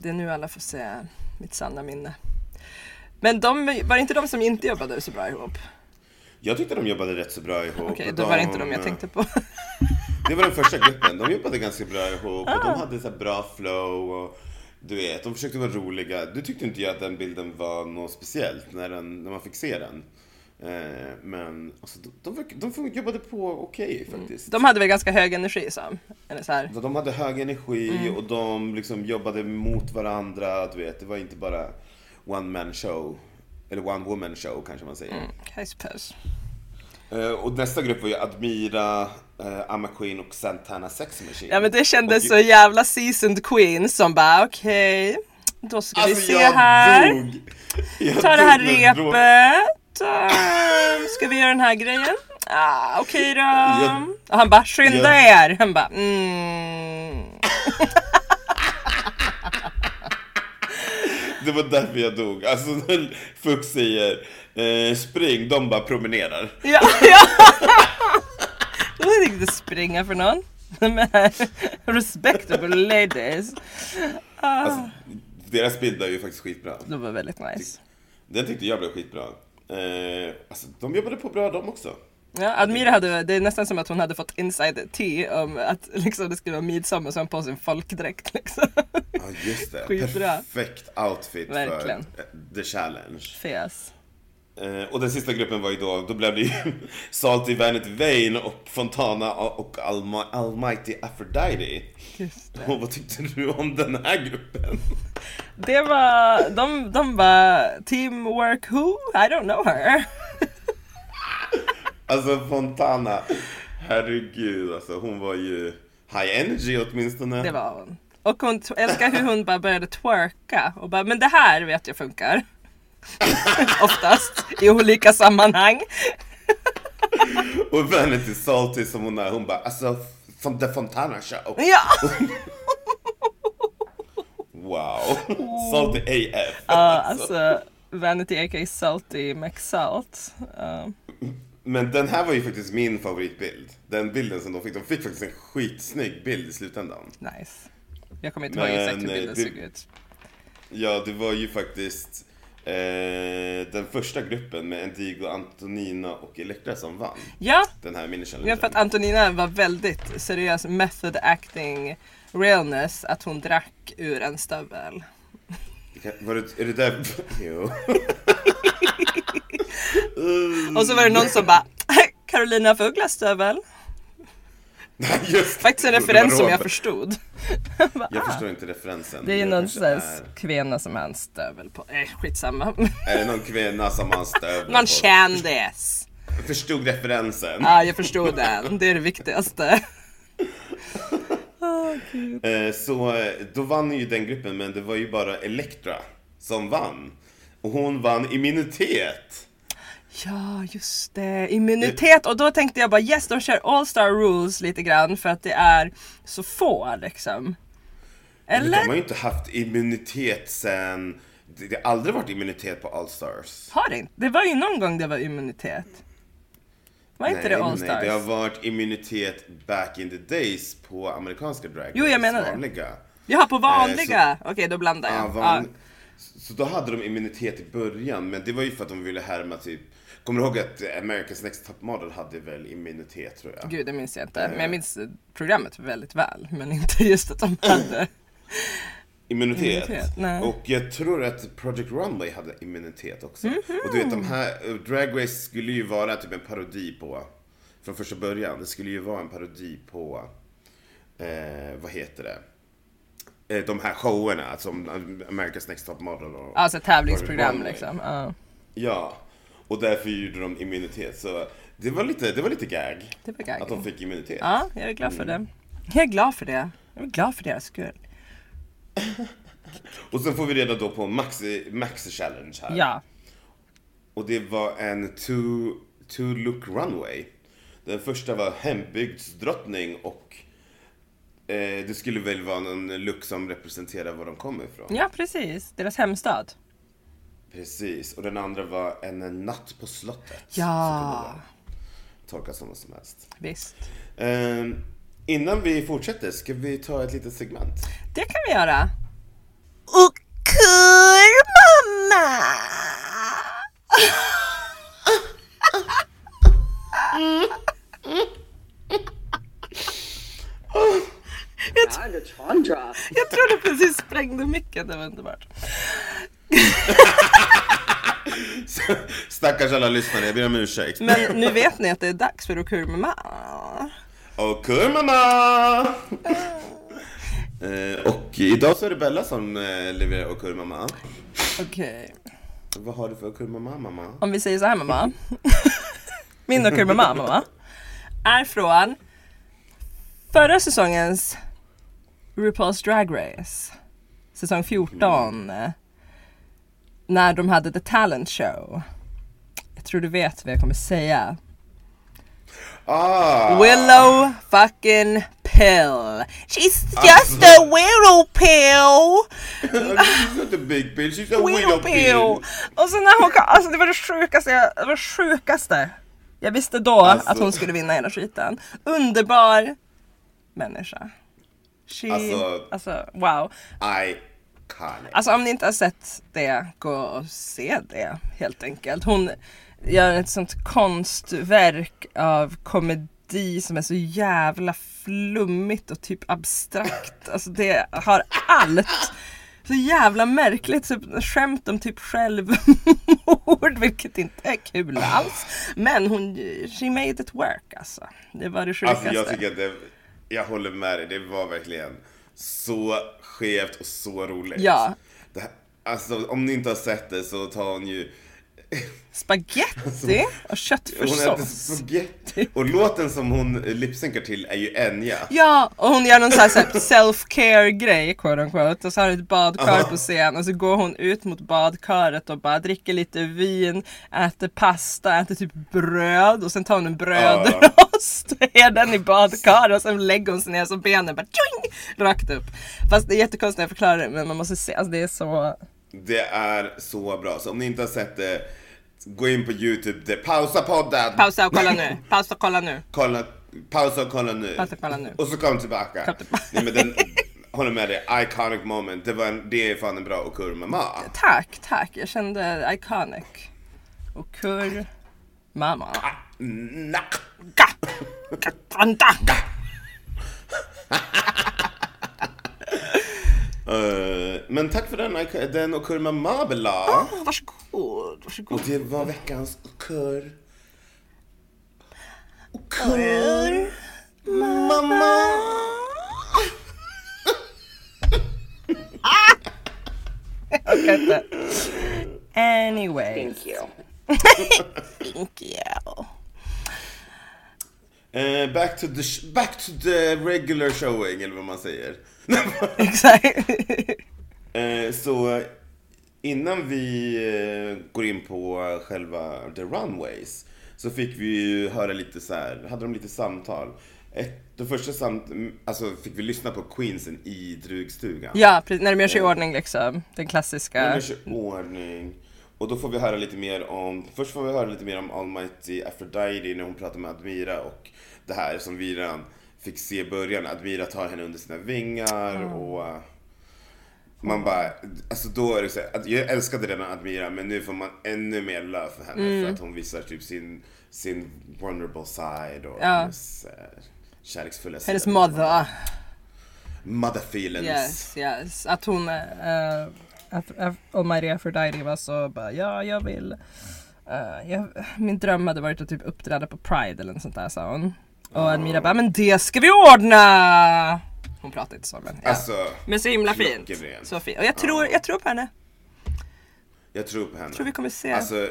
S2: Det är nu alla får se mitt sanna minne. Men de, var det inte de som inte jobbade så bra ihop?
S1: Jag tyckte de jobbade rätt så bra ihop.
S2: Okej, då var det inte de
S1: Mm.
S2: jag tänkte på.
S1: Det var den första gruppen, de jobbade ganska bra ihop och
S2: Ah.
S1: de hade så här bra flow och du vet, de försökte vara roliga. Du tyckte inte jag att den bilden var något speciellt när, den, när man fick se den. Eh, men alltså, de, de, verk- de jobbade på okej faktiskt.
S2: De hade väl ganska hög energi som. Eller så här.
S1: Så De hade hög energi
S2: Mm.
S1: och de liksom jobbade mot varandra, du vet. Det var inte bara one man show. Eller one woman show kanske man
S2: Mm.
S1: säger.
S2: Kajspös.
S1: Eh, och nästa grupp var ju Admira, uh, Amma Queen och Santana Sex Machine.
S2: Ja men det kändes
S1: Och-
S2: så jävla seasoned queen som bara okej, då ska vi
S1: Alltså
S2: se
S1: jag
S2: här.
S1: dog! Jag
S2: Ta det här
S1: dog med bråk.
S2: repet. Ehm, Ska vi göra den här grejen? Ah, okej då.
S1: Jag-
S2: Och han bara skynda
S1: jag-
S2: er. Han bara mm.
S1: Det var därför jag dog. Alltså när Fuchs säger eh, spring, de bara promenerar.
S2: Ja, ja. Jag vet inte springa för någon. Men, Respectable ladies.
S1: Alltså, deras bild är ju faktiskt skitbra.
S2: Det var väldigt nice.
S1: Den tyckte jag blev skitbra. Eh, alltså, de jobbade på bra de också.
S2: Ja, Admira hade, det är nästan som att hon hade fått inside tea om att liksom, det skulle vara midsommar som på sin folkdräkt liksom.
S1: Ja just det,
S2: Skitbra.
S1: perfekt outfit
S2: Verkligen.
S1: för eh, the challenge.
S2: Fes.
S1: Eh, och den sista gruppen var ju då, då blev det ju Salty Vanity Vane och Fontana och Alma, Almighty Aphrodite.
S2: Just det.
S1: Och vad tyckte du om den här gruppen?
S2: Det var, de, de var teamwork who? I don't know her.
S1: Alltså Fontana, herregud alltså hon var ju high energy åtminstone.
S2: Det var hon. Och hon t- älskar hur hon bara började twerka och bara, men det här vet jag funkar. Oftast i olika sammanhang.
S1: Och Vanity Salty som hon är, hon bara alltså from the Fontana show.
S2: Ja!
S1: Wow, Salty AF.
S2: Ja, alltså Vanity aka Salty McSalt. Uh,
S1: Men den här var ju faktiskt min favoritbild. Den bilden som de fick. De fick faktiskt en skitsnygg bild i slutändan.
S2: nice. Jag kommer inte ihåg exakt hur
S1: Men, eh,
S2: bilden
S1: det-
S2: såg ut.
S1: Ja, det var ju faktiskt eh, den första gruppen med Endigo, Antonina och Elektra som vann.
S2: Ja,
S1: Den här
S2: Ja, för
S1: minichallengen.
S2: att Antonina var väldigt seriös method acting realness att hon drack ur en stövel.
S1: Det kan- Var det, är det där... Jo.
S2: Och så var det någon som bara Carolina af Ugglas dör väl?
S1: Nej, just det.
S2: Faktiskt en referens som jag
S1: Garderob.
S2: förstod.
S1: Jag förstår inte referensen.
S2: Det är ju
S1: Jag
S2: någon
S1: kanske
S2: sån här
S1: är-
S2: kvinna som har en stövel på. Eh, skitsamma.
S1: Är det någon kvinna som har stövel
S2: Någon
S1: på?
S2: kändis.
S1: Förstod referensen.
S2: Ja, jag förstod den. Det är det viktigaste.
S1: Eh, Så eh, då vann ju den gruppen, men det var ju bara Elektra som vann. Och hon vann immunitet.
S2: Ja, just det. Immunitet. Och då tänkte jag bara yes, de kör All Star Rules lite grann för att det är så få liksom.
S1: Men De har
S2: Eller?
S1: ju inte haft immunitet sen... Det det har aldrig varit immunitet på All Stars.
S2: Har det inte? Det var ju någon gång det var immunitet. Var inte det All Stars?
S1: nej, det har varit immunitet back in the days på amerikanska drag
S2: Jo, jag
S1: race,
S2: menar det.
S1: vanliga.
S2: Jaha, på
S1: Eh,
S2: vanliga? Okej, då blandar jag.
S1: Ja,
S2: Ja. Ah.
S1: van... Så då hade de immunitet i början, men det var ju för att de ville härma typ... Kommer du ihåg att eh, America's Next Top Model hade väl immunitet tror jag?
S2: Gud, det minns jag inte. Men jag minns eh, programmet väldigt väl. Men inte just att de hade.
S1: Immunitet.
S2: Immunitet, nej.
S1: Och jag tror att Project Runway hade immunitet också.
S2: Mhm.
S1: Och du vet de här, eh, Drag Race skulle ju vara typ en parodi på, från första början, det skulle ju vara en parodi på, eh, vad heter det? Eh, De här showerna som America's Next Top Model och...
S2: Alltså tävlingsprogram
S1: Runway.
S2: liksom. Ja.
S1: Ja. Och därför gjorde de immunitet. Så det var lite, det var lite gag.
S2: Det var gag.
S1: Att de fick immunitet.
S2: Ja, jag är glad för det. Jag är glad för det. Jag är glad för deras skull.
S1: Och sen får vi reda då på Maxi, Maxi Challenge här.
S2: Ja.
S1: Och det var en two, two look runway. Den första var hembygdsdrottning och eh, det skulle väl vara någon look som representerar var de kommer ifrån.
S2: ja, precis. Deras hemstad.
S1: Precis. Och den andra var en natt på slottet.
S2: Ja.
S1: Så kunde det Tolkas som vad som helst.
S2: Visst.
S1: Ehm, innan vi fortsätter ska vi ta ett litet segment.
S2: Det kan vi göra. Och kul mamma!
S3: Time to Chandra.
S2: Jag tror du precis sprängde micken, det var underbart.
S1: Stackars alla lyssnare, jag ber om ursäkt.
S2: Men nu vet ni att det är dags för Okur mamma.
S1: Och kurmamma! eh, och idag så är det Bella som eh, levererar och kurmamma.
S2: Okej.
S1: Vad har du för kurmamma mamma?
S2: Om vi säger så här mamma. Min och Okur mamma, mamma. Är från förra säsongens RuPaul's Drag Race. Säsong 14. När de hade The Talent Show. Jag tror du vet vad jag kommer säga.
S1: Ah!
S2: Willow fucking pill. She's just a willow pill.
S1: She's not a big pill, she's a
S2: Willow
S1: willow
S2: pill.
S1: pill!
S2: Och så när hon kom, alltså det var det sjukaste, jag- det var det sjukaste. Jag visste då
S1: Alltså.
S2: att hon skulle vinna hela skiten. Underbar människa. She,
S1: Alltså.
S2: alltså, wow.
S1: Iconic.
S2: Alltså om ni inte har sett det, gå och se det helt enkelt. Hon gör ett sånt konstverk av komedi som är så jävla flummigt och typ abstrakt. Alltså det har allt. Så jävla märkligt. Typ, skämt om typ självmord, vilket inte är kul alls. Men hon, she made it work alltså. Det var det sjukaste.
S1: Alltså jag tycker att det, jag håller med dig, det var verkligen så skevt och så roligt.
S2: Ja.
S1: Det här, alltså om ni inte har sett det så tar hon ju
S2: Spaghetti och
S1: Hon äter
S2: köttfärssås.
S1: spagetti. Och låten som hon lipsynkar till är ju Enya.
S2: Ja, och hon gör någon sån här så här self-care grej, quote unquote. Och så har hon ett badkar på scen och så går hon ut mot badkaret och bara dricker lite vin, äter pasta, äter typ bröd och sen tar hon en brödrost och ger den i badkaret och sen lägger hon sig ner så benen bara tjoing, rakt upp. Fast det är jättekonstigt när jag förklarar det men man måste se, alltså det är så...
S1: Det är så bra. Så om ni inte har sett det, gå in på YouTube. Det, pausa podden!
S2: Pausa och kolla nu, pausa och kolla nu.
S1: kolla, pausa och kolla nu.
S2: Pausa och kolla nu.
S1: Och så kom tillbaka.
S2: Kom tillbaka.
S1: Nej, men den, håller med dig, iconic moment. Det, var en, det är fan en bra Ah, och kurr mamma.
S2: Tack, tack, jag kände iconic. Och kurr, mamma.
S1: Nack.
S2: Ka- Katranda.
S1: Eh, men tack för den, ico- den och kurr mamma Bella.
S2: Varsågod.
S1: Och det var veckans kurr.
S2: Varsågod.
S1: Mamma!
S2: Jag kan inte. Anyway.
S3: Thank you.
S2: Thank you.
S1: Eh, back, to the sh- back to the regular showing, eller vad man säger.
S2: Exakt.
S1: Eh, Så eh, innan vi eh, går in på själva the runways så fick vi ju höra lite så här, hade de lite samtal. Ett, det första samt, mm, alltså fick vi lyssna på Queensen i drugstugan.
S2: Ja, precis. När de gör sig i ordning liksom. Den klassiska.
S1: Nummer 20, ordning. Och då får vi höra lite mer om, först får vi höra lite mer om Almighty Aphrodite när hon pratar med Admira och det här som vi redan fick se i början. Admira tar henne under sina vingar och äh, man bara, alltså då är det så här, att jag älskade redan Admira men nu får man ännu mer love för henne
S2: Mm.
S1: för att hon visar typ sin, sin vulnerable side och hennes eh, kärleksfulla sida.
S2: Hennes mother.
S1: Mother feelings.
S2: Yes, yes. Att hon, eh, att Af- Almighty Aphrodite var så bara, ja jag vill, eh, jag, min dröm hade varit att typ uppträda på Pride eller något sånt där sa hon. Och Admira bara, men det ska vi ordna! Hon pratade inte så men ja.
S1: Alltså,
S2: Men så himla fint.
S1: klockrent.
S2: Så fint. Och jag tror, jag tror på henne.
S1: Jag tror på henne.
S2: Tror vi kommer se.
S1: Alltså,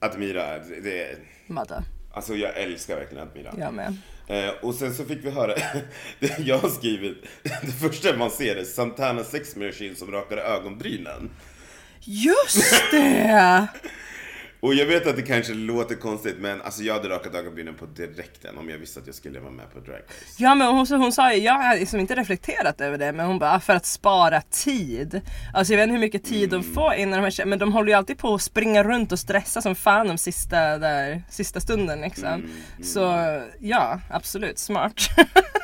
S1: Admira, det- det är...
S2: Madde.
S1: Alltså jag älskar verkligen Admira.
S2: Jag med.
S1: Eh, och sen så fick vi höra, det jag har skrivit, det första man ser är Santana Sex Machine som rakar ögonbrynen.
S2: Just det!
S1: Och jag vet att det kanske låter konstigt men alltså jag hade rakat ögonbrynen på direkten om jag visste att jag skulle vara med på Drag Race.
S2: Ja men hon, hon sa ju, jag har liksom inte reflekterat över det men hon bara "Ah, för att spara tid. Alltså jag vet inte hur mycket tid de får innan de här tje- men de håller ju alltid på att springa runt och stressa som fan de sista, där, sista stunden liksom.
S1: Mm.
S2: Så ja, absolut smart.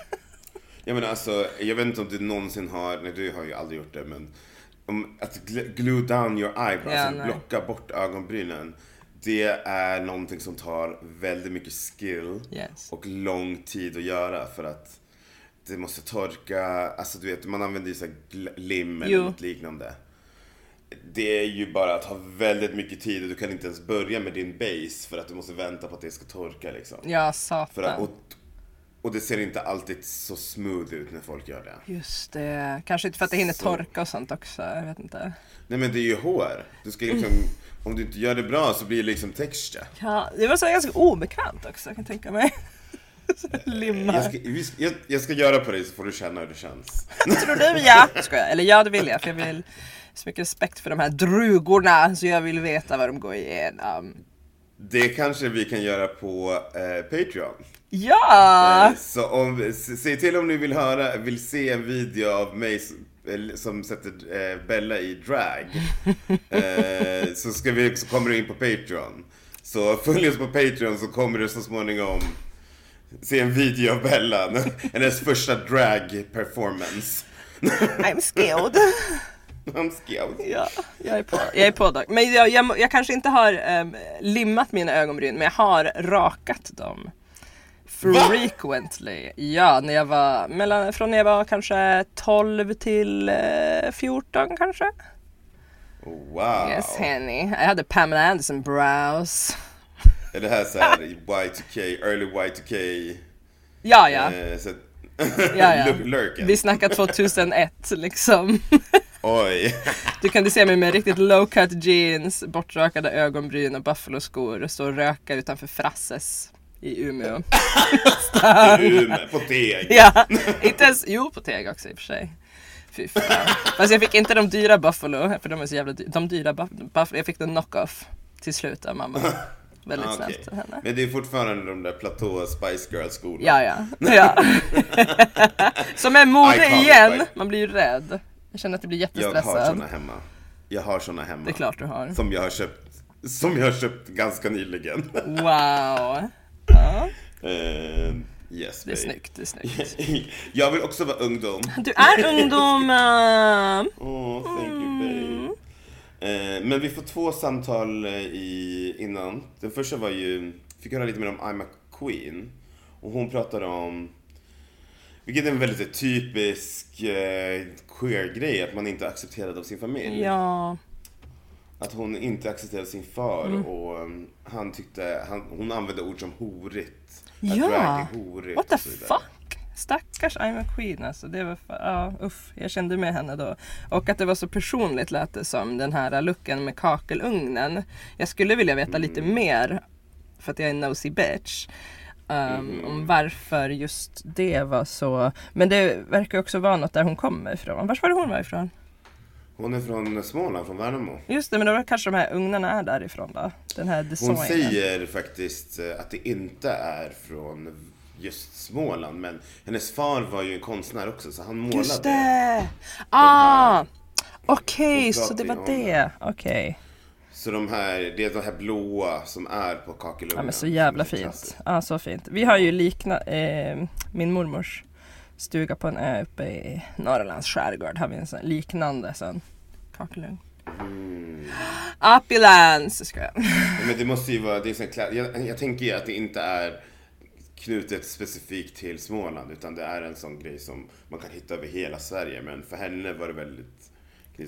S1: Jag menar alltså, jag vet inte om du någonsin har, nej du har ju aldrig gjort det men om, att gl- glue down your eyebrows,
S2: Ja,
S1: alltså
S2: nej.
S1: blocka bort ögonbrynen. Det är någonting som tar väldigt mycket skill
S2: Yes.
S1: och lång tid att göra för att det måste torka, alltså du vet man använder ju så här gl- lim eller
S2: Jo.
S1: något liknande. Det är ju bara att ha väldigt mycket tid och du kan inte ens börja med din base för att du måste vänta på att det ska torka liksom.
S2: ja
S1: För att, och,
S2: satan.
S1: och det ser inte alltid så smooth ut när folk gör det.
S2: Just det, kanske inte för att det hinner
S1: Så.
S2: torka och sånt också. Jag vet inte.
S1: Nej men det är ju hår. Du ska liksom, om du inte gör det bra så blir det liksom texture.
S2: Ja, det var så ganska obekvämt också kan jag tänka mig. Så
S1: Eh, Jag
S2: Limmar.
S1: ska, vi ska- jag, jag ska göra på dig så får du känna hur det känns.
S2: Tror du ja? Skojar. Eller ja det vill jag för jag vill så mycket respekt för de här drugorna så jag vill veta vad de går igenom.
S1: Det kanske vi kan göra på eh, Patreon.
S2: Ja!
S1: Eh, Så om, s- se till om ni vill höra, vill se en video av mig s- eh, som sätter eh, Bella i drag. Eh, så, ska vi, så kommer du in på Patreon. Så följ oss på Patreon så kommer du så småningom se en video av Bella. Hennes första drag performance.
S2: I'm scared.
S1: I'm scared.
S2: Ja, jag är på. Jag är på dock. Men jag, jag, må- jag kanske inte har ehm, limmat mina ögonbryn men jag har rakat dem. Frequently. Ja, när jag var mellan, från när jag var kanske 12 till eh, 14 kanske.
S1: Wow.
S2: Yes honey. I hade Pamela Anderson brows.
S1: Är det här såhär Y2K, early Y2K?
S2: Ja, ja.
S1: Eh, så att,
S2: Ja, ja.
S1: lurk- Lurken.
S2: Vi snackar 2001 liksom.
S1: Oj.
S2: Du kan se mig med riktigt low cut jeans, bortrakade ögonbryn och buffaloskor och stå och röka utanför Frasses i Umeå.
S1: Umeå, på deg.
S2: Ja, inte ens, jo på Teg också i och för sig. Fy fan. Fast jag fick inte de dyra Buffalo, för de är så jävla dyra. De dyra buff- Buffalo, jag fick den knock-off till slut av mamma. Väldigt
S1: Ah, okej.
S2: snällt av henne.
S1: Men det är fortfarande de där platå Spice Girls skorna.
S2: Ja, ja. ja. Som är mode
S1: Iconic,
S2: igen,
S1: right?
S2: man blir ju rädd. Jag känner att jag blir
S1: Jag har
S2: jättestressad.
S1: såna hemma. Jag har såna hemma.
S2: Det är klart du har.
S1: Som jag har köpt, som jag har köpt ganska nyligen.
S2: Wow. Ja,
S1: Eh, yes,
S2: det är snyggt, det är snyggt.
S1: jag vill också vara ungdom.
S2: Du är ungdom! eh,
S1: Oh, thank you
S2: Mm.
S1: babe. Eh, men vi får två samtal eh, i, innan. Den första var ju, fick höra lite mer om I'm a Queen. Och hon pratade om, vilket är en väldigt typisk eh, queer-grej, att man inte är accepterad av sin familj.
S2: Ja.
S1: Att hon inte accepterade sin far
S2: Mm.
S1: och um, han tyckte, han, hon använde ord som horigt. Att drag
S2: Ja!
S1: är horigt
S2: What
S1: och
S2: the
S1: så vidare.
S2: fuck? Stackars I'm a Queen alltså. Det var fa- ja, uff, jag kände med henne då. Och att det var så personligt lät det som den här luckan med kakelugnen. Jag skulle vilja veta lite mer, för att jag är en nosy bitch. Um, Om varför just det var så. Men det verkar också vara något där hon kommer ifrån. Vars var det hon var ifrån?
S1: Hon är från Småland, från Värnamo.
S2: Just det, men då var det kanske de här ugnarna är därifrån då. Den här designen.
S1: Hon säger faktiskt eh, att det inte är från just Småland, men hennes far var ju en konstnär också, så han målade.
S2: Just det! Ah! Okej,
S1: Hon
S2: så det
S1: pratade
S2: var
S1: ju om
S2: det. Okej.
S1: Så de här, det är de här blåa som är på kakelugnen.
S2: Ja men så jävla
S1: Som är
S2: fint.
S1: klassiskt.
S2: Ja så fint. Vi har ju likna eh, min mormors stuga på en ö uppe i Norrlands skärgård. Har vi en sån liknande sån kakelugn.
S1: Mm.
S2: Opulence! Ska jag.
S1: Men det måste ju vara, det är sån klä... jag, jag tänker ju att det inte är knutet specifikt till Småland, utan det är en sån grej som man kan hitta över hela Sverige. Men för henne var det väldigt...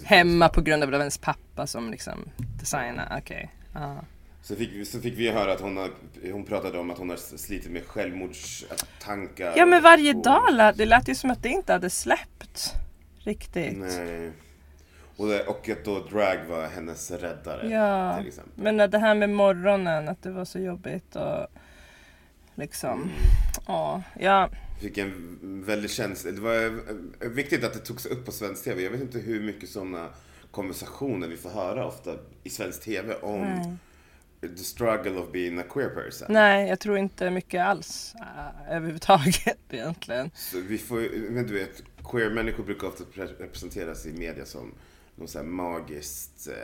S2: Hemma på grund av ens pappa som liksom designar. Okej. Ja.
S1: Så fick, vi- så fick vi höra att hon, har, hon pratade om att hon har slitit med självmordstankar.
S2: Ja men
S1: och-
S2: varje
S1: och-
S2: dag lät det lät ju som att det inte hade släppt. Riktigt.
S1: Nej. Och, det, och att då drag var hennes räddare.
S2: Ja,
S1: Till exempel.
S2: men det här med morgonen, att det var så jobbigt och
S1: Mm.
S2: liksom. Ja, ja.
S1: Fick en väldigt känsla. Det var eh, viktigt att det togs upp på svensk TV. Jag vet inte hur mycket sådana konversationer vi får höra ofta i svensk TV om the struggle of being a queer person.
S2: Nej, jag tror inte mycket alls äh, överhuvudtaget egentligen.
S1: Så vi får, ju- men du vet, queer människor brukar ofta pre- representeras i media som någon sån här magiskt eh,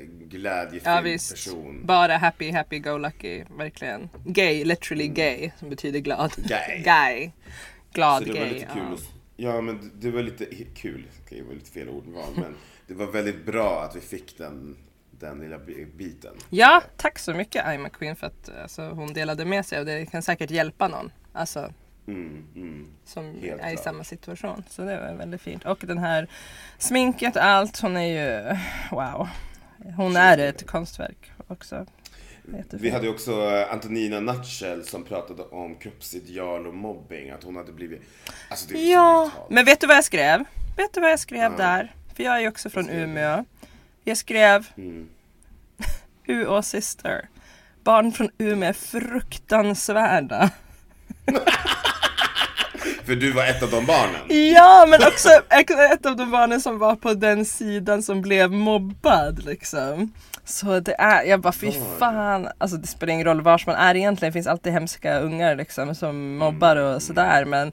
S2: Ja,
S1: glädjefylld
S2: visst.
S1: person.
S2: Bara happy, happy, go lucky. Verkligen. Gay, literally gay, som betyder glad.
S1: Mm. Gay.
S2: Gay. Glad
S1: Så det var
S2: gay.
S1: lite kul
S2: ja.
S1: att, Ja men det var lite kul, det var lite fel ordval men det var väldigt bra att vi fick den, den lilla bi- biten.
S2: ja, tack så mycket I'm a Queen för att alltså, hon delade med sig och det kan säkert hjälpa någon. Alltså,
S1: Mm, mm.
S2: som
S1: Helt
S2: är i
S1: klart.
S2: samma situation. Så det var väldigt fint. Och den här sminket och allt, hon är ju wow. Hon är ett konstverk också. Jättefint.
S1: Vi hade ju också eh, Antonina Nutshell som pratade om kroppsideal och mobbing, att hon hade blivit, alltså det är
S2: Ja,
S1: så brutalt.
S2: men vet du vad jag skrev? Vet du vad jag skrev
S1: Ja.
S2: där? För jag är ju också från
S1: skrev du?
S2: Umeå. Jag skrev
S1: Mm.
S2: UÅ syster. Barn från Umeå är fruktansvärda.
S1: För du var ett av de barnen.
S2: Ja, men också ett av de barnen som var på den sidan som blev mobbad liksom. Så det är, jag bara fy
S1: Var.
S2: fan, alltså det spelar ingen roll vars man är egentligen, det finns alltid hemska ungar liksom
S1: Mm.
S2: som mobbar och sådär men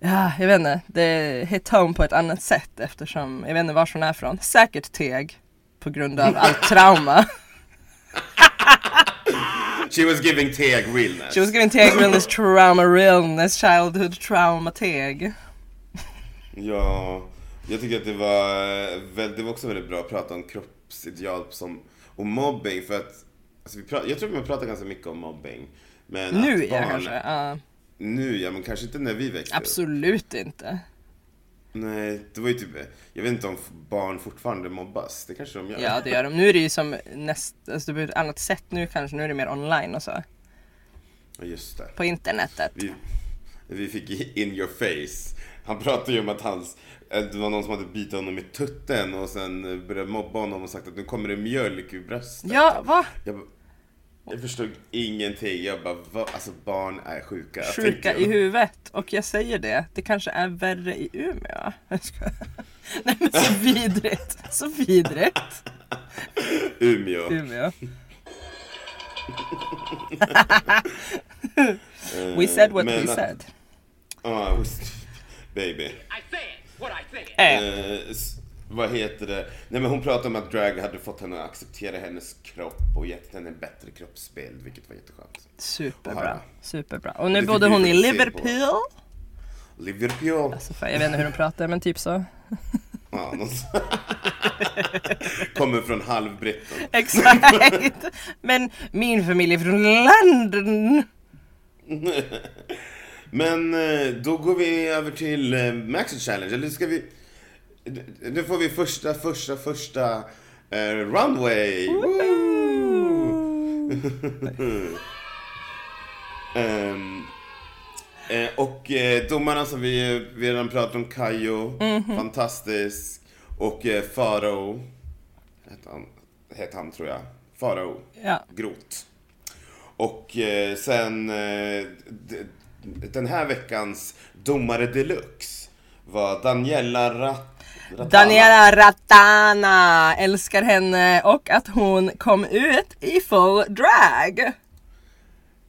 S2: ja, jag vet inte, det hit home på ett annat sätt eftersom, jag vet inte vars hon är från, säkert Teg på grund av allt trauma.
S1: She was giving Teg realness.
S2: She was giving Teg realness trauma realness, childhood trauma Teg.
S1: Ja, jag tycker att det var, eh, väl- det var också väldigt bra att prata om kroppsideal som, och mobbing för att alltså vi pra- jag tror att man pratar ganska mycket om mobbing. Men
S2: Nu
S1: att
S2: är jag
S1: barn-
S2: kanske, ja,
S1: Nu ja, men kanske inte när vi växte upp.
S2: absolut inte.
S1: Nej, det var ju typ, jag vet inte om f- barn fortfarande mobbas. Det kanske de gör.
S2: Ja det gör de. Nu är det ju som näst, alltså det blir ett annat sätt nu kanske, nu är det mer online och så.
S1: Ja, just det.
S2: På internetet.
S1: Vi, vi fick i- in your face. Han pratade ju om att hans, att det var någon som hade bitit honom i tutten och sen eh, började mobba honom och sagt att nu kommer det mjölk ur bröstet.
S2: Ja, va?
S1: Jag, bara- jag förstod ingenting. Jag bara, va? alltså barn är sjuka. tänkte
S2: Sjuka
S1: jag.
S2: i huvudet. Och jag säger det, det kanske är värre i Umeå. Jag skojar. Nej men så vidrigt. Så vidrigt.
S1: Umeå.
S2: Umeå. We said what
S1: Eh, Men
S2: we
S1: att-
S2: said.
S1: Ja, visst. baby.
S5: I said what I said.
S2: Eh,
S1: Eh, s- vad heter det? Nej men hon pratade om att drag hade fått henne att acceptera hennes kropp och gett henne en bättre kroppsbild, vilket var jätteskönt.
S2: superbra.
S1: Här.
S2: Superbra. Och nu
S1: Det
S2: bodde
S1: fick vi
S2: hon i
S1: väl se på.
S2: Liverpool.
S1: Liverpool.
S2: Så fan, jag vet inte hur de pratar men typ så.
S1: Ja, någon sån- Kommer från halvbritten.
S2: Exakt. Men min familj är från London.
S1: Men eh, då går vi över till eh, Maxi Challenge, eller ska vi... Nu får vi första, första, första Eh, runway! Woo! Ehm, eh, och eh, domarna som vi, eh, vi redan pratade om, Kayo,
S2: Mhm.
S1: fantastisk. Och eh, Farao, hette han, hette han tror jag. Farao,
S2: Ja.
S1: Groth. Och eh, sen eh, d- den här veckans domare deluxe var Daniela Rat- Ratana.
S2: Daniela Ratana älskar henne och att hon kom ut i full drag.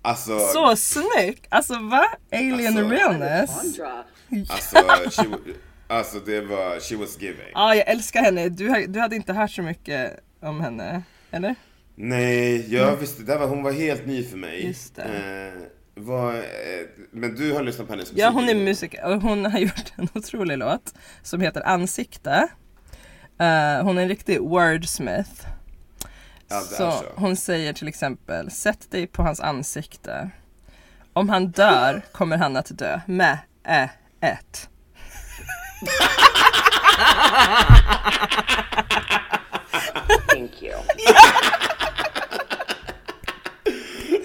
S1: Alltså,
S2: Så snygg! Alltså va? Alien
S1: Alltså-
S2: realness.
S3: Chandra.
S1: alltså, she, wa- alltså det var, she was giving.
S2: Ja, jag älskar henne. Du, har- du hade inte hört så mycket om henne, eller?
S1: Nej, jag visste, det var, hon var helt ny för mig.
S2: Just det.
S1: Eh, var, eh, men du har lyssnat på hennes musik?
S2: Ja, hon är musiker och hon har gjort en otrolig låt som heter Ansikte. Eh, hon är en riktig wordsmith.
S1: Ja, det är
S2: så
S1: så.
S2: hon säger till exempel, sätt dig på hans ansikte. Om han dör kommer han att dö med ä, ett.
S3: Thank you.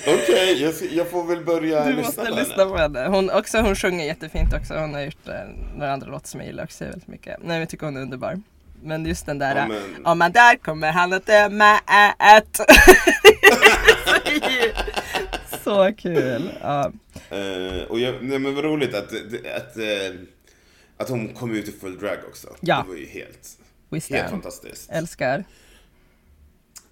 S1: Okej, jag, ska- jag får väl börja
S2: Du
S1: lyssna
S2: måste
S1: på
S2: lyssna på henne. Hon, också, hon sjunger jättefint också. Hon har gjort eh, några andra låtar som jag gillar också väldigt mycket. Nej, jag tycker hon är underbar. Men just den där,
S1: Ja,
S2: eh,
S1: men-
S2: om man där kommer han att dö med ett. Så kul. Ja.
S1: Eh, och jag, nej, men vad roligt att, att, eh, att hon kom ut i full drag också.
S2: Ja.
S1: Det var ju helt,
S2: Visst
S1: helt
S2: är hon.
S1: fantastiskt.
S2: Älskar.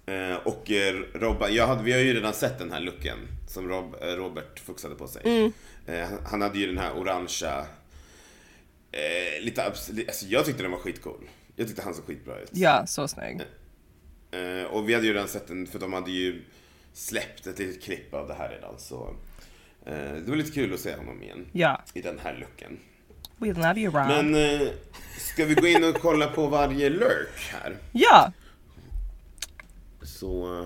S1: Eh, och eh, Robban, jag hade, vi har ju redan sett den här looken som Rob, eh, Robert fuxade på sig. Eh, han- han hade ju den här orangea, eh, lite abs- li- alltså jag tyckte den var skitcool. Jag tyckte han såg skitbra ut.
S2: Ja, så snygg.
S1: Eh, och vi hade ju redan sett den, för de hade ju släppt ett litet klipp av det här redan så. Eh, det var lite kul att se honom igen.
S2: Ja.
S1: I den här looken.
S2: We'll not be wrong.
S1: Men eh, ska vi gå in och kolla på varje lurk här?
S2: Ja,
S1: Så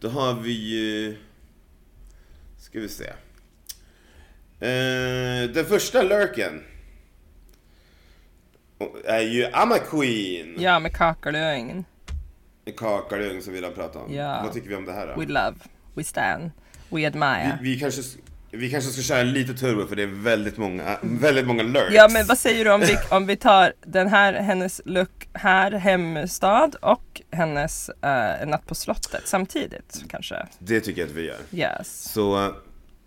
S1: då har vi ju... Ska vi se. Eh, den första lurken. Är ju Amma Queen.
S2: ja med kakelögn.
S1: Kakalung som vi redan pratade om.
S2: Ja.
S1: Vad tycker vi om det här då?
S2: We love, we stand, we admire.
S1: Vi, vi, kanske, vi kanske ska köra lite turbo för det är väldigt många, väldigt många lurks.
S2: Ja men vad säger du om vi, om vi tar den här, hennes look här, hemstad och hennes eh, natt på slottet samtidigt kanske?
S1: Det tycker jag att vi gör.
S2: Yes.
S1: Så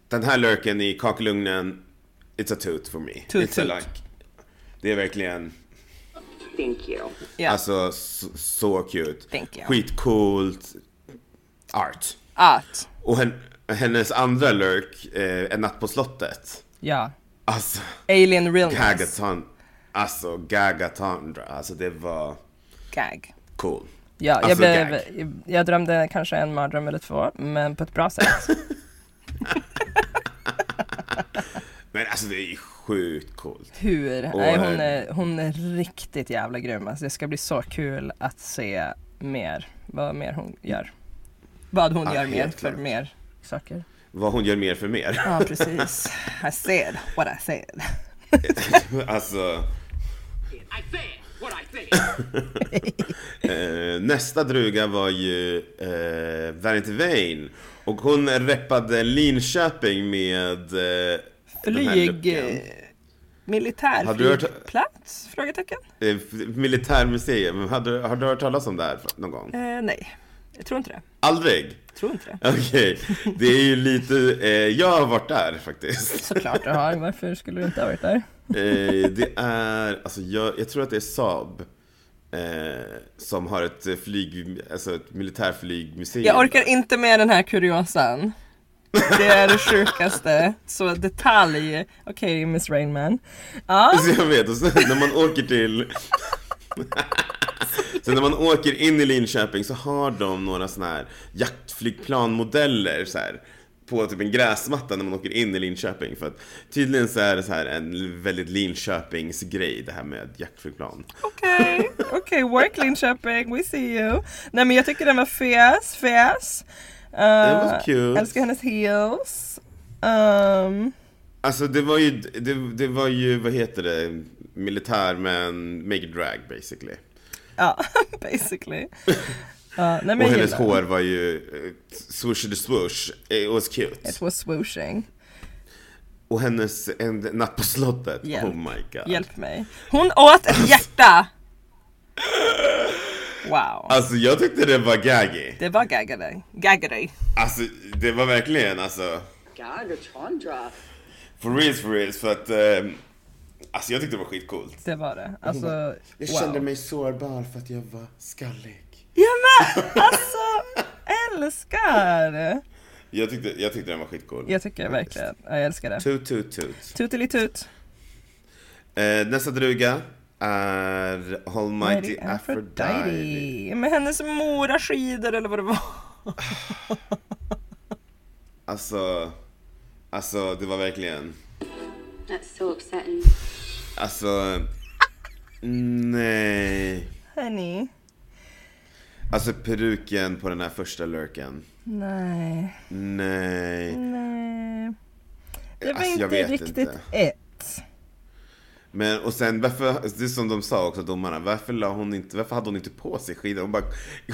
S1: den här lurken i kakelugnen, it's a toot for me.
S2: Toot,
S1: it's a
S2: toot.
S1: like. Det är verkligen...
S3: Thank you.
S2: Ja.
S1: Alltså så, så cute.
S2: Thank you.
S1: Skitcoolt. Art.
S2: Att.
S1: Och hen, hennes andra lurk, eh, En natt på slottet.
S2: Ja.
S1: Alltså,
S2: Alien realness.
S1: Gagaton. Alltså, Gagatandra. Alltså det var
S2: Gag.
S1: cool.
S2: Ja, jag,
S1: Alltså,
S2: blev,
S1: gag.
S2: jag drömde kanske en mardröm eller två, men på ett bra sätt.
S1: Men alltså det är ju sjukt coolt.
S2: Hur?
S1: Och,
S2: Nej, hon,
S1: eh,
S2: är, hon är riktigt jävla grym. Alltså, det ska bli så kul att se mer, vad mer hon gör. Vad hon
S1: Ja,
S2: gör
S1: helt
S2: mer för
S1: klart.
S2: mer saker.
S1: Vad hon gör mer för mer.
S2: Ja, precis. I said what I said.
S1: alltså,
S5: I said what I said.
S1: eh, nästa druga var ju eh, Vanity Vane. Och hon reppade Linköping med eh, den här
S2: Flyg...
S1: looken.
S2: eh, Militär
S1: Hade du hört-
S2: flygplats? Frågetecken?
S1: Eh, Militärmuseum, har du, har du hört talas om det här någon gång?
S2: Eh, nej, jag tror inte det.
S1: Aldrig?
S2: Jag tror inte det.
S1: Okej, det är ju lite, eh, jag har varit där faktiskt.
S2: Såklart du har, varför skulle du inte ha varit där?
S1: Eh, det är, alltså jag, jag tror att det är Saab eh, som har ett eh, flyg, alltså ett militärflygmuseum.
S2: Jag orkar inte med den här kuriosan. Det är det sjukaste. Så detalj. Okej, Miss Rainman. Ja,
S1: Så jag vet, och sen när man åker till... Sen när man åker in i Linköping så har de några såna här jaktflygplanmodeller så här på typ en gräsmatta när man åker in i Linköping för att tydligen så är det så här en väldigt Linköpingsgrej det här med jaktflygplan.
S2: okej. Okej, work Linköping, we see you. Nej men jag tycker den var fes, fes. Uh,
S1: var cute.
S2: Älskar hennes heels. Ehm,
S1: Alltså det var ju, det, det var ju, vad heter det, militär men make drag basically.
S2: Ja, basically. Ja, nej, men
S1: Och
S2: jag
S1: hennes
S2: gillar
S1: hår var ju eh, swoosh the swoosh. It was
S2: den.
S1: cute.
S2: It was swooshing.
S1: Och hennes en napp på slottet.
S2: Hjälp.
S1: Oh my god.
S2: Hjälp mig. Hon åt ett hjärta! Wow.
S1: Alltså jag tyckte det var gaggy.
S2: Det var gaggade. Gaggade.
S1: Alltså det var verkligen alltså.
S3: God, Chandra.
S1: For reals, for reals. För att eh, alltså jag tyckte det var skitcoolt.
S2: Det var det. Alltså,
S1: Jag
S2: wow.
S1: kände mig sårbar för att jag var skallig.
S2: Ja men alltså, älskar!
S1: Jag tyckte, jag tyckte den var skitcool.
S2: Jag tycker verkligen, ja, jag älskar det.
S1: Toot toot toot.
S2: Tutelitut.
S1: Eh, nästa druga är Almighty
S2: Mighty
S1: Aphrodite.
S2: Aphrodite. Med hennes mora skidor eller vad det var.
S1: Alltså, alltså det var verkligen,
S4: That's so upsetting.
S1: alltså, nej.
S2: Honey.
S1: Alltså peruken på den här första lurken.
S2: Nej.
S1: Nej.
S2: Nej. Mm, Det var
S1: Alltså, jag
S2: inte
S1: vet
S2: riktigt
S1: inte.
S2: ett.
S1: Men och sen varför, det är som de sa också domarna, varför, la hon inte, varför hade hon inte på sig skidor? Hon bara,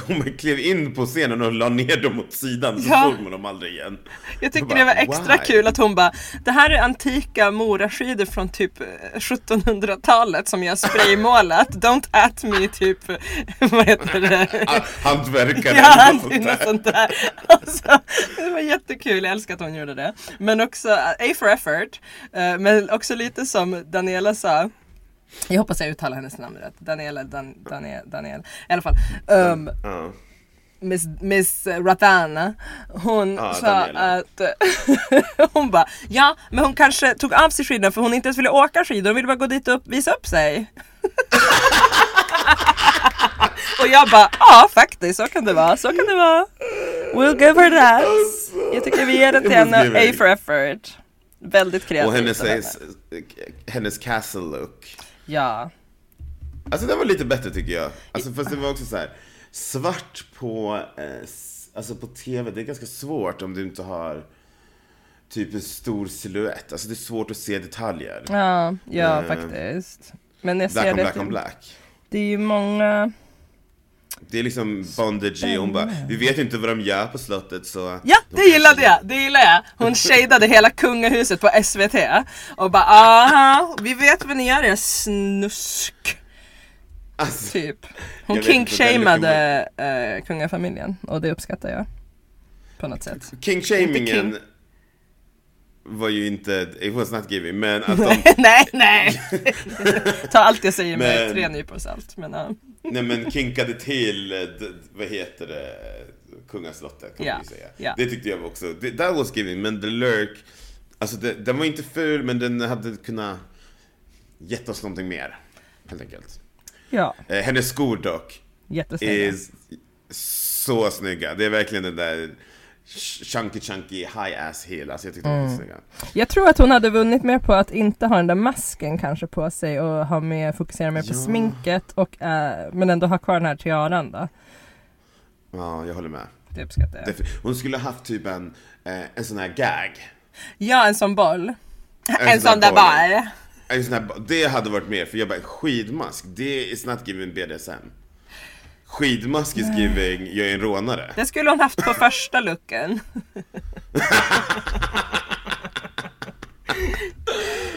S1: hon bara klev in på scenen och la ner dem åt sidan så
S2: Ja.
S1: såg man dem aldrig igen.
S2: Jag tyckte
S1: bara,
S2: det var extra
S1: why?
S2: kul att hon bara Det här är antika moraskidor från typ eh, 1700-talet som jag spraymålat Don't at me typ Vad heter det?
S1: Ah, Hantverkare
S2: Ja,
S1: eller något
S2: det är
S1: sånt
S2: något
S1: där.
S2: sånt där. Alltså, det var jättekul, jag älskar att hon gjorde det. Men också, eh, A for effort, eh, men också lite som Daniela sa, jag hoppas jag uttalar hennes namn rätt, Daniela, Dan, Daniel, Daniel, i alla fall. Um,
S1: Ja.
S2: Miss, Miss Ratana, hon
S1: Ja,
S2: sa
S1: Daniela.
S2: att hon bara ja, men hon kanske tog av sig skidorna för hon inte ens ville åka skidor, hon ville bara gå dit och upp, visa upp sig. och jag bara ja, faktiskt så kan det vara, så kan det vara. We'll give her that. Jag tycker vi ger det till
S1: Jag måste
S2: henne,
S1: ge mig.
S2: A for effort. Väldigt kreativt.
S1: Och hennes, eh,
S2: av henne.
S1: hennes castle look.
S2: Ja,
S1: Alltså den var lite bättre tycker jag. Alltså fast det var också så här svart på, eh, s- alltså på tv, det är ganska svårt om du inte har typ en stor silhuett. Alltså det är svårt att se detaljer.
S2: ja, ja
S1: Eh,
S2: faktiskt. Men jag
S1: Black
S2: ser
S1: on
S2: det,
S1: black on
S2: till-
S1: black.
S2: det är ju många
S1: Det är liksom bondage och hon bara, vi vet ju inte vad de gör på slottet så...
S2: Ja,
S1: de
S2: det
S1: kanske-
S2: gillade jag! Det gillade jag! Hon shadade hela kungahuset på SVT och bara aha, vi vet vad ni gör er snusk.
S1: Alltså,
S2: Typ. Hon
S1: Jag vet inte,
S2: kinkshamade eh, kungafamiljen och det uppskattar jag. På något sätt.
S1: King-shamingen
S2: Inte
S1: var ju inte, it was not giving, men att de
S2: nej, nej! Ta allt jag säger med
S1: Men-
S2: tre nypor salt. Men, ja.
S1: Nej men kinkade till, eh, d- vad heter det, kungaslottet kan
S2: Ja,
S1: man ju säga.
S2: ja.
S1: Det tyckte jag var också, det, that was giving, men The Lurk, alltså det, den var inte ful men den hade kunnat gett oss någonting mer. Helt enkelt.
S2: ja,
S1: Eh, hennes skor dock,
S2: jättesnygga.
S1: är så snygga. Det är verkligen den där ch- chunky chunky high ass heel, alltså jag tyckte
S2: Mm.
S1: de var snygga.
S2: Jag tror att hon hade vunnit mer på att inte ha den där masken kanske på sig och ha mer, fokusera mer på
S1: Ja.
S2: sminket och, eh, men ändå ha kvar den här tiaran då.
S1: Ja, jag håller med.
S2: Det uppskattar jag.
S1: Därför- Hon skulle haft typ en, eh, en sån här gag.
S2: Ja, en sån boll. En,
S1: sån
S2: sån där
S1: boll.
S2: boll.
S1: En sån här, det hade varit mer, för jag bara skidmask, det is not giving BDSM. Skidmask is giving, jag är en rånare.
S2: Det skulle hon haft på första looken.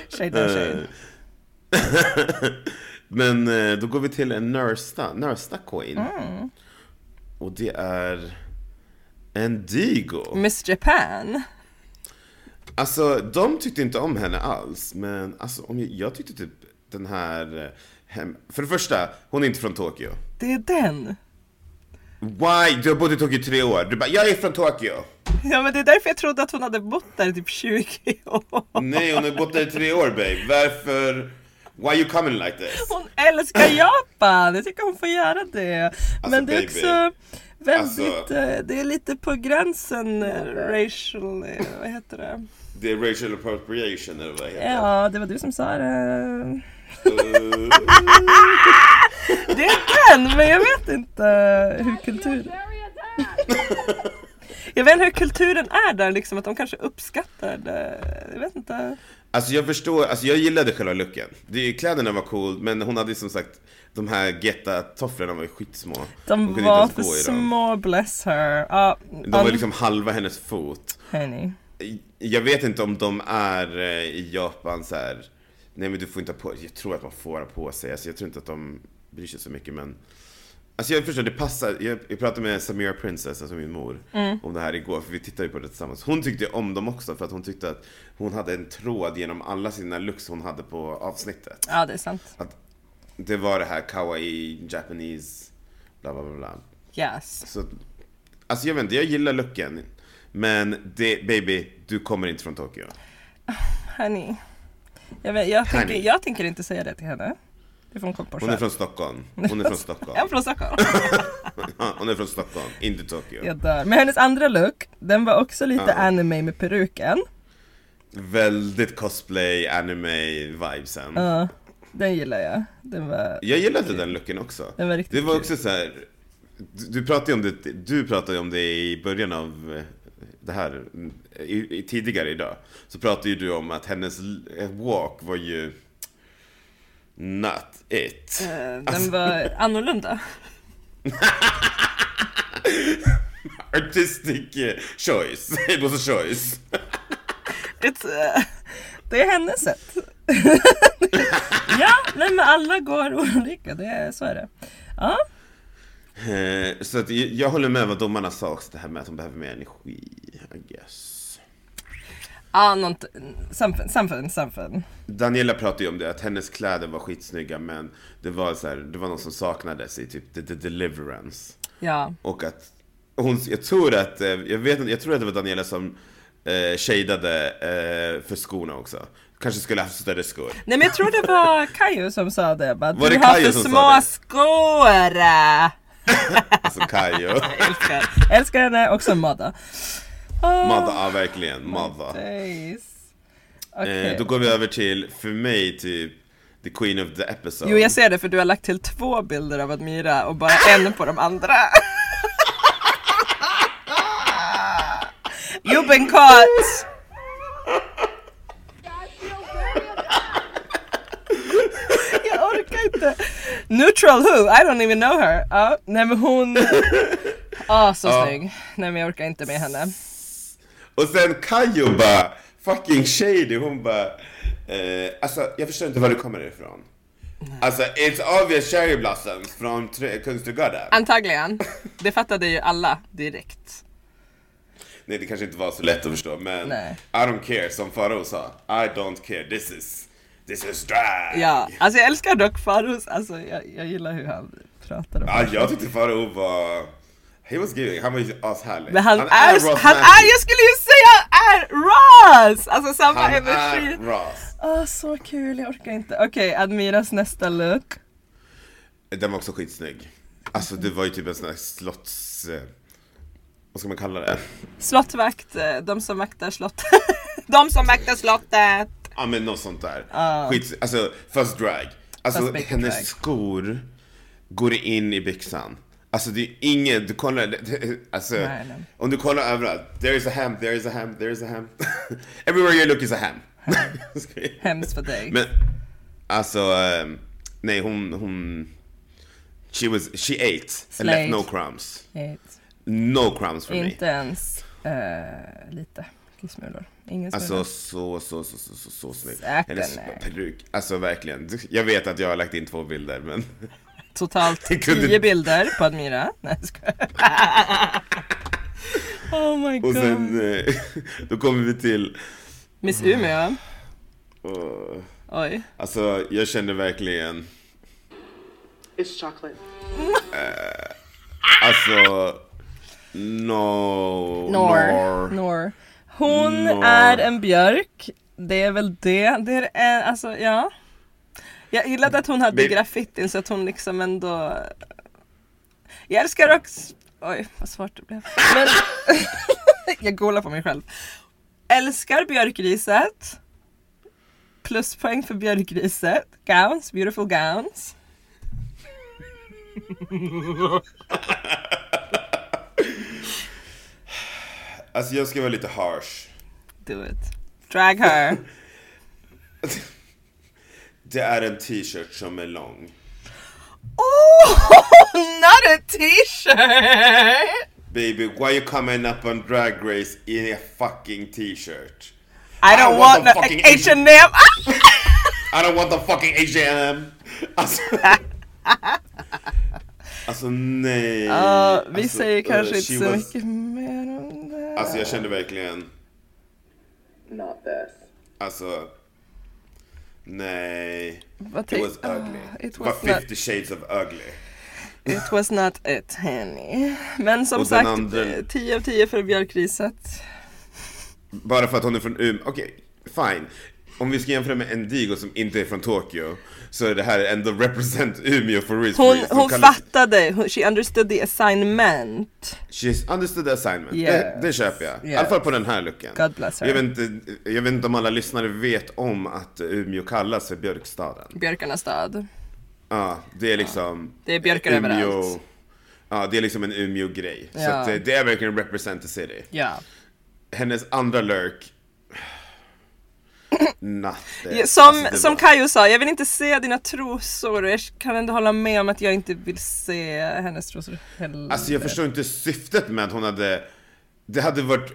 S2: Shade on
S1: Eh.
S2: shade.
S1: Men eh, då går vi till en nörsta, nörsta queen. Och det är Endigo.
S2: Miss Japan.
S1: Alltså, de tyckte inte om henne alls, men alltså, om jag, jag tyckte typ den här... eh, Hem... För det första, hon är inte från Tokyo.
S2: Det är den.
S1: Why? Du har bott i Tokyo i tre år. Du bara, jag är från Tokyo.
S2: Ja men det är därför jag trodde att hon hade bott där i typ 20 år.
S1: Nej, hon har bott där i tre år babe. Varför? Why you coming like this?
S2: Hon älskar Japan! Jag tycker hon får göra det. men det är
S1: Alltså, baby.
S2: också väldigt,
S1: Alltså.
S2: eh, det är lite på gränsen eh, racial, eh, vad heter det?
S1: Det är racial appropriation eller vad det heter.
S2: Ja, det var du som sa det.
S1: Uh,
S2: Det är den, men jag vet inte hur kultur... Jag vet inte hur kulturen är där liksom, att de kanske uppskattar det. Jag vet inte.
S1: Alltså jag förstår, alltså jag gillade själva looken. Det, kläderna var cool, men hon hade som sagt de här getta-tofflorna var ju skitsmå. Hon kunde
S2: De
S1: inte
S2: var
S1: ens
S2: för
S1: gå i dem.
S2: små, bless her. Ja,
S1: De var
S2: all-
S1: ju liksom halva hennes fot.
S2: Honey.
S1: Jag vet inte om de är eh, i Japan så här. Nej men du får inte ha på Jag tror att man får ha på sig. Alltså jag tror inte att de bryr sig så mycket men. Alltså jag förstår, det passar. Jag, jag pratade med Samira Princess, alltså min mor, om det här igår. För vi tittade ju på det tillsammans. Hon tyckte om dem också för att hon tyckte att hon hade en tråd genom alla sina looks hon hade på avsnittet.
S2: Ja, det är sant.
S1: Att det var det här kawaii, Japanese, bla bla bla. bla.
S2: Yes.
S1: Så, alltså jag vet inte, jag gillar looken. Men det, baby, du kommer inte från Tokyo.
S2: Honey. Jag, vet, jag, tänker,
S1: Honey.
S2: jag tänker inte säga det till henne. Det får hon komma på
S1: Hon är
S2: själv.
S1: från Stockholm. Hon är från Stockholm.
S2: Jag är från Stockholm.
S1: Ja, Hon är från Stockholm, inte Tokyo.
S2: jag dör. Men hennes andra look, den var också lite anime med peruken.
S1: Väldigt cosplay, anime vibesen.
S2: Ja, den gillar jag. Den var...
S1: Jag gillade den looken också.
S2: Den var riktigt
S1: det var
S2: kul.
S1: också så här. Du, du pratade ju om det, du pratade ju om det i början av eh, det här, i, i, tidigare idag. Så pratade ju du om att hennes l- walk var ju not it. Alltså,
S2: eh, Den var annorlunda.
S1: Artistic eh, choice. It was a choice.
S2: It's, eh, det är hennes sätt. ja, nej men alla går olika, det är, så är det. Ja,
S1: Eh, Så att jag- jag håller med vad domarna sa också, det här med att de behöver mer energi, I guess.
S2: ah, nånt, something, something, something.
S1: Daniela pratade ju om det, att hennes kläder var skitsnygga men det var så här, det var någon som saknades i typ the, the deliverance.
S2: Ja,
S1: Och att hon, jag tror att, eh, jag vet inte, jag tror att det var Daniela som eh, shadeade eh, för skorna också. Kanske skulle haft större skor.
S2: nej men jag tror det var Kayo som sa det. Bara,
S1: Var
S2: du
S1: det
S2: har
S1: Kayo
S2: för
S1: som sa
S2: små
S1: det?"
S2: skor!
S1: Alltså Kayo.
S2: Jag älskar, älskar henne, också Mada. Ah,
S1: Mother, ja verkligen, mother.
S2: days.
S1: Eh,
S2: Okej.
S1: då går vi över till, för mig typ, the queen of the episode.
S2: Jo jag ser det för du har lagt till två bilder av Admira och bara en på de andra. You've been caught! Jag orkar inte. Neutral who? I don't even know her. Ja, nej men hon... Ah så snygg. Nej men jag orkar inte med henne.
S1: Och sen Kayo bara, fucking shady, hon bara, eh, alltså jag förstår inte var du kommer ifrån. Alltså it's obvious cherry blossoms från Tre- Kungsträdgården.
S2: Antagligen. Det fattade ju alla direkt.
S1: Nej det kanske inte var så lätt att förstå men
S2: Nej.
S1: I don't care som Farao sa. I don't care, this is, this is drag.
S2: Ja, alltså jag älskar dock Faros. Alltså jag, jag gillar hur han pratar om
S1: Ja, jag tyckte Farao var, he was giving, han var ju ashärlig.
S2: Men han, är,
S1: Ross
S2: han
S1: Matthews.
S2: är, jag skulle ju säga är Ross! Alltså samma
S1: Han
S2: energi.
S1: är Ross.
S2: Ah, så kul, jag orkar inte. Okej, Admiras nästa look.
S1: Den var också skitsnygg. Alltså det var ju typ en sån här slotts, eh, vad ska man kalla det?
S2: Slottvakt, eh, de som vaktar slottet. de som vaktar slottet.
S1: Ja men något sånt där. Skits, alltså fast drag. Alltså
S2: Ah. Fast mycket
S1: hennes
S2: drag.
S1: skor går in i byxan. Alltså det är ingen, du kollar, det- det- alltså
S2: Nej, nej.
S1: om du kollar överallt. There is a hem, there is a hem, there is a hem. Everywhere you look is a hem.
S2: Hemskt för dig.
S1: Men alltså, ehm, nej hon, hon, she was, she ate and left
S2: Slayed.
S1: no crumbs.
S2: Helt.
S1: No crumbs for me.
S2: Inte ens eh, lite kissmulor. Ingen smula.
S1: Alltså så, så, så, så, så, så snygg.
S2: Säkert
S1: Hennes
S2: nej.
S1: peruk. Alltså verkligen. Jag vet att jag har lagt in två bilder men.
S2: Totalt
S1: det kunde-
S2: tio bilder på Admira. Nej jag skojar. Oh my
S1: Och
S2: god.
S1: sen, eh, då kommer vi till,
S2: Miss Umeå.
S1: åh,
S2: Oj.
S1: alltså jag känner verkligen,
S3: It's chocolate.
S1: alltså, no,
S2: Nor. Nor. Hon
S1: Nor.
S2: är en björk. Det är väl det. det är en, alltså, ja. Jag gillade att hon hade
S1: Men-
S2: graffitin så att hon liksom ändå... Jag älskar också... Oj, vad svårt det blev. Men... jag golar på mig själv. Älskar björkriset. Pluspoäng för björkriset. Gowns, beautiful gowns.
S1: Alltså jag ska vara lite harsh.
S2: Do it. Drag her.
S1: Det är en t-shirt som är lång.
S2: Oh, not a t-shirt!
S1: Baby, why you coming up on Drag Race in a fucking t-shirt?
S2: I don't
S1: I
S2: want
S1: want
S2: no
S1: the fucking
S2: H&M.
S1: I don't want the fucking H&M Alltså... alltså nej.
S2: Ja, Uh, vi
S1: Alltså,
S2: säger
S1: eh,
S2: kanske
S1: she
S2: inte så
S1: was-
S2: mycket mer om det.
S1: Alltså jag kände verkligen,
S3: Not this.
S1: alltså... Nej.
S2: Vad
S1: It
S2: tänk-
S1: was ugly.
S2: Ah,
S1: it
S2: it
S1: var
S2: was not-
S1: 50 shades of ugly.
S2: It was not it, honey. Men som
S1: Och den
S2: sagt,
S1: andra-
S2: eh, 10 av 10 för björkriset.
S1: Bara för att hon är från Umeå. Okej, fine. Om vi ska jämföra med Endigo som inte är från Tokyo så är det här ändå represent Umeå for real. for
S2: Hon,
S1: real. De
S2: hon
S1: kallar-
S2: fattade, hon- she understood the assignment.
S1: She's understood the assignment. Det,
S2: Yes.
S1: det köper jag. I
S2: Yes.
S1: alla fall på den här looken.
S2: God bless her.
S1: Jag vet, inte, jag vet inte om alla lyssnare vet om att Umeå kallas för björkstaden.
S2: Björkarnas stad.
S1: Ja, det är liksom...
S2: Det är björkar överallt.
S1: Ja, det är liksom en Umeå-grej. Så
S2: Ja.
S1: att eh, det, det är verkligen represent the city.
S2: Ja.
S1: Hennes andra lurk... Natten.
S2: Som,
S1: Alltså, det
S2: som
S1: var-
S2: Kayo sa, jag vill inte se dina trosor och jag kan ändå hålla med om att jag inte vill se hennes trosor heller.
S1: Alltså jag förstår inte syftet med att hon hade... Det hade varit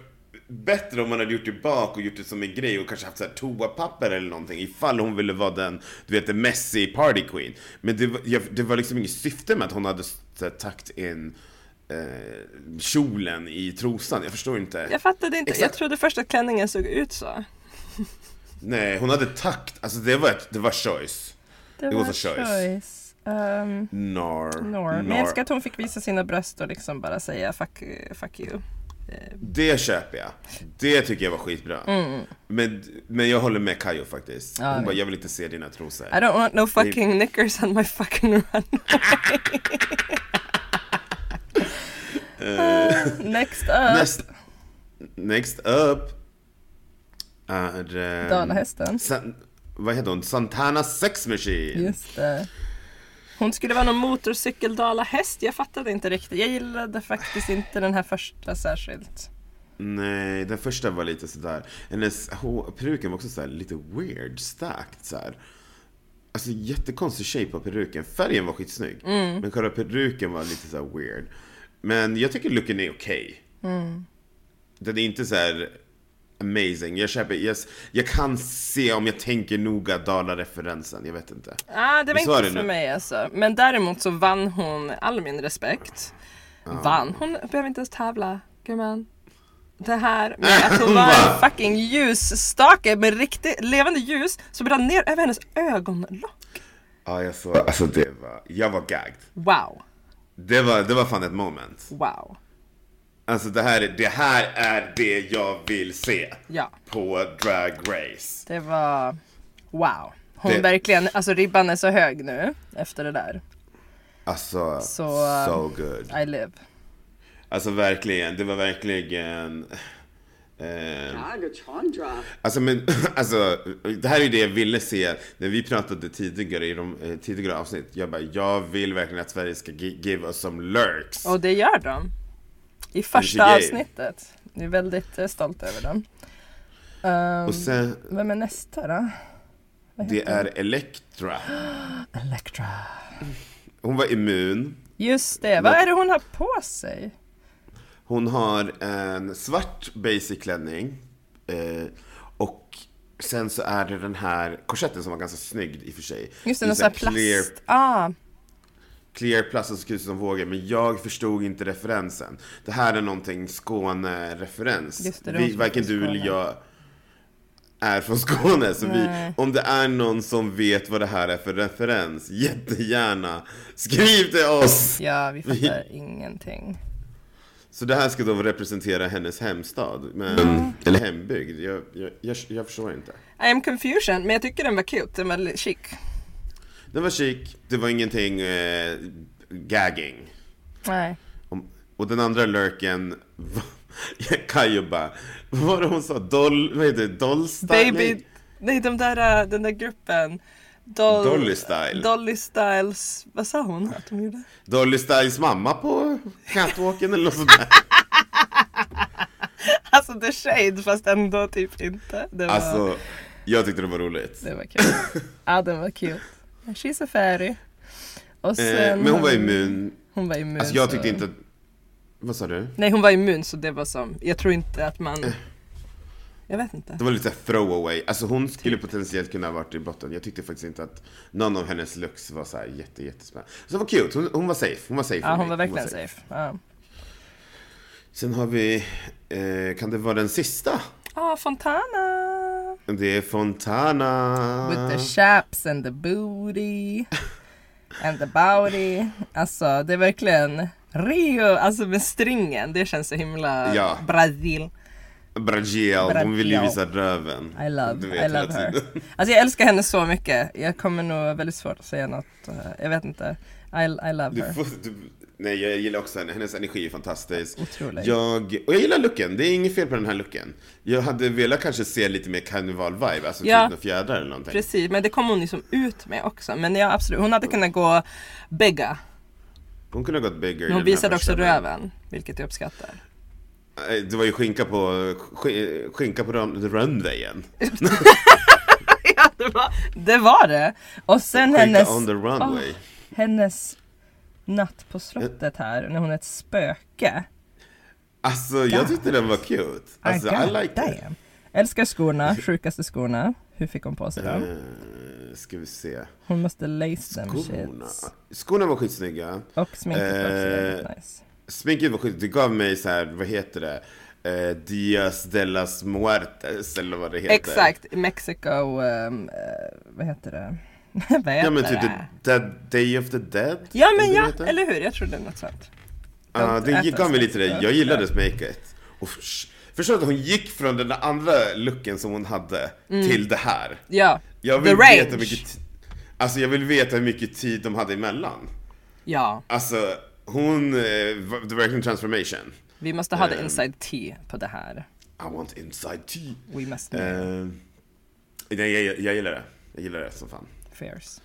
S1: bättre om man hade gjort det bak och gjort det som en grej och kanske haft så här toapapper eller någonting ifall hon ville vara den, du vet, the messy party queen. Men det var, jag, det var liksom inget syfte med att hon hade så här, tagit in eh, kjolen i trosan. Jag förstår inte.
S2: Jag fattade inte, jag
S1: Exakt.
S2: trodde först att klänningen såg ut så.
S1: Nej, hon hade takt. Alltså det var, ett, det var choice.
S2: Det
S1: It was a choice.
S2: Um,
S1: Nor.
S2: nor. Men jag älskar att hon fick visa sina bröst och liksom bara säga fuck, fuck you.
S1: Det köper jag. Det tycker jag var skitbra. Men, men jag håller med Kayo faktiskt. Hon
S2: Mm, Ja.
S1: bara, jag vill inte se dina trosor.
S2: I don't want no fucking knickers on my fucking run.
S1: Eh.
S2: Next up,
S1: Next, next up är... ehm,
S2: Dalahästen.
S1: San, vad heter hon? Santana Sex Machine!
S2: Just det. Hon skulle vara någon motorcykeldala häst, jag fattade inte riktigt. Jag gillade faktiskt inte den här första särskilt.
S1: Nej, den första var lite sådär. Hennes hår- peruken var också sådär lite weird stacked såhär. Alltså jättekonstig shape på peruken. Färgen var skitsnygg. Men själva peruken var lite såhär weird. Men jag tycker looken är okej. Den är inte såhär amazing. Jag, köper, jag, jag kan se om jag tänker noga Dala-referensen. Jag vet inte.
S2: Ah, det var
S1: Vi sa
S2: inte
S1: det
S2: för
S1: nu.
S2: mig alltså. Men däremot så vann hon all min respekt. Vann? Hon behöver inte ens tävla, gumman. Det här
S1: Äh,
S2: med att hon var en fucking ljusstake med riktigt levande ljus som rann ner över hennes ögonlock.
S1: Ja, jag såg. Alltså det var, jag var gagged.
S2: Wow,
S1: Det var, det var fan ett moment.
S2: wow.
S1: Alltså det här, är- det här är det jag vill se.
S2: Ja,
S1: på Drag Race.
S2: det var wow. Hon
S1: Det-
S2: verkligen, alltså ribban är så hög nu efter det där.
S1: Alltså,
S2: Så,
S1: so,
S2: eh,
S1: good.
S2: I live.
S1: Alltså verkligen, det var verkligen... Eh,
S3: Agachandra.
S1: alltså men, alltså, det här är ju det jag ville se när vi pratade tidigare i de eh, tidigare avsnitt. Jag bara, jag vill verkligen att Sverige ska gi- give us some lurks.
S2: Och det gör de. I
S1: gay.
S2: första avsnittet. Jag är väldigt eh, stolt över dem. Ehm,
S1: Och sen,
S2: vem är nästa då?
S1: det är Elektra.
S2: Elektra.
S1: Hon var immun.
S2: Just det, vad är det hon har på sig?
S1: Hon har en svart basic klänning eh, och sen så är det den här korsetten som var ganska snygg i och för sig.
S2: Just det,
S1: är
S2: någon sån här
S1: clear,
S2: plast. Ah,
S1: clear plast som ser ut som vågor, men jag förstod inte referensen. Det här är någonting Skåne-referens.
S2: Just det, det är hon
S1: Vi,
S2: som
S1: varken
S2: är från
S1: du eller
S2: Skåne.
S1: jag är från Skåne, så vi,
S2: Nej.
S1: om det är någon som vet vad det här är för referens, jättegärna skriv till oss!
S2: ja vi fattar ingenting.
S1: Så det här ska då representera hennes hemstad, men,
S2: Mm.
S1: eller hembygd. Jag, jag, jag, jag förstår inte.
S2: I am confusion, men jag tycker den var cute, den var li- chic.
S1: Den var chic, det var ingenting eh, gagging.
S2: Nej.
S1: Om, och den andra lurken, var- Kayo bara, vad var det hon sa? Doll, vad heter det? Doll styling?
S2: Baby, nej de där, äh, den där gruppen. Doll,
S1: Dolly Style.
S2: Dolly Styles, vad sa hon att de gjorde?
S1: Dolly Styles mamma på catwalken eller något sånt där.
S2: Alltså the shade fast ändå typ inte. Det var,
S1: Alltså, Jag tyckte det var roligt. Eh,
S2: Det var kul. Ja, den var cute. She's a fairy. Och
S1: Eh,
S2: sen,
S1: men hon var immun.
S2: Hon var immun.
S1: Alltså jag
S2: så-
S1: tyckte inte att... Vad sa du?
S2: Nej, hon var immun så det var som, jag tror inte att man... Jag vet inte.
S1: Eh. Det var lite såhär throwaway. Alltså hon skulle
S2: Typ.
S1: potentiellt kunna ha varit i botten. Jag tyckte faktiskt inte att någon av hennes looks var såhär jätte, jättespännande. Så det var cute. Hon, hon var safe. Hon var safe.
S2: Ja,
S1: för
S2: hon
S1: mig.
S2: var verkligen safe. Ja,
S1: Sen har vi, eh, kan det vara den sista?
S2: ah, Fontana!
S1: Det är Fontana.
S2: With the chaps and the booty and the body. Alltså det är verkligen Rio, alltså med stringen. Det känns så himla
S1: Ja.
S2: Brasil.
S1: Bragiel. Hon vill ju
S2: Bragiel.
S1: visa röven.
S2: I love,
S1: Du vet,
S2: I love
S1: hela
S2: her.
S1: tiden.
S2: Alltså jag älskar henne så mycket. Jag kommer nog ha väldigt svårt att säga något. eh, Jag vet inte. I, I love
S1: Du
S2: her.
S1: får, du, nej, jag gillar också henne. Hennes energi är fantastisk.
S2: Otrolig.
S1: Jag, och jag gillar looken. Det är inget fel på den här looken. Jag hade velat kanske se lite mer karneval-vibe, alltså
S2: Ja.
S1: typ några fjädrar eller någonting.
S2: Precis, men det kom hon liksom ut med också. Men ja absolut, hon hade kunnat gå bägga.
S1: Hon kunde ha gått bigger. i
S2: Men
S1: den här
S2: hon visade också
S1: första, men-
S2: röven, vilket jag uppskattar.
S1: Nej, Det var ju skinka på, sk- skinka på run- the runwayen.
S2: ja, det var det. Var det. Och sen
S1: Skinka
S2: hennes...
S1: on the runway.
S2: Åh, hennes natt på slottet här, när hon är ett spöke.
S1: Alltså, jag tyckte den var cute. Alltså, I,
S2: God
S1: like it.
S2: damn. Älskar skorna, sjukaste skorna. Hur fick hon på sig dem?
S1: Eh, Ska vi se.
S2: Hon måste lace them
S1: Skorna.
S2: shits.
S1: Skorna var skitsnygga.
S2: Och sminket var också
S1: Eh,
S2: väldigt nice.
S1: Sminket var skit. Det gav mig så här, vad heter det? Eh, Dias de las muertes eller vad det heter.
S2: Exakt, i Mexico, ehm, eh, vad heter det? vad heter
S1: Ja men typ
S2: det?
S1: the, the Day of the Dead.
S2: Ja men
S1: eller vad det
S2: ja,
S1: heter.
S2: eller hur? Jag trodde något sånt.
S1: Ja, det
S2: Don't
S1: gav
S2: Athos,
S1: mig lite det.
S2: Don't
S1: Jag gillade
S2: Athos.
S1: smaket. Och förs- Förstår du att hon gick från den där andra looken som hon hade till det här?
S2: Ja,
S1: Jag
S2: Mm. the
S1: vill
S2: range.
S1: veta hur mycket ti- Alltså jag vill veta hur mycket tid de hade emellan.
S2: Ja,
S1: Alltså hon, eh, var- det var verkligen transformation.
S2: vi måste ha the
S1: Ehm.
S2: inside tea på det här.
S1: I want inside tea.
S2: We must
S1: Eh,
S2: know
S1: nej, jag, jag gillar det. Jag gillar det som fan.
S2: fierce.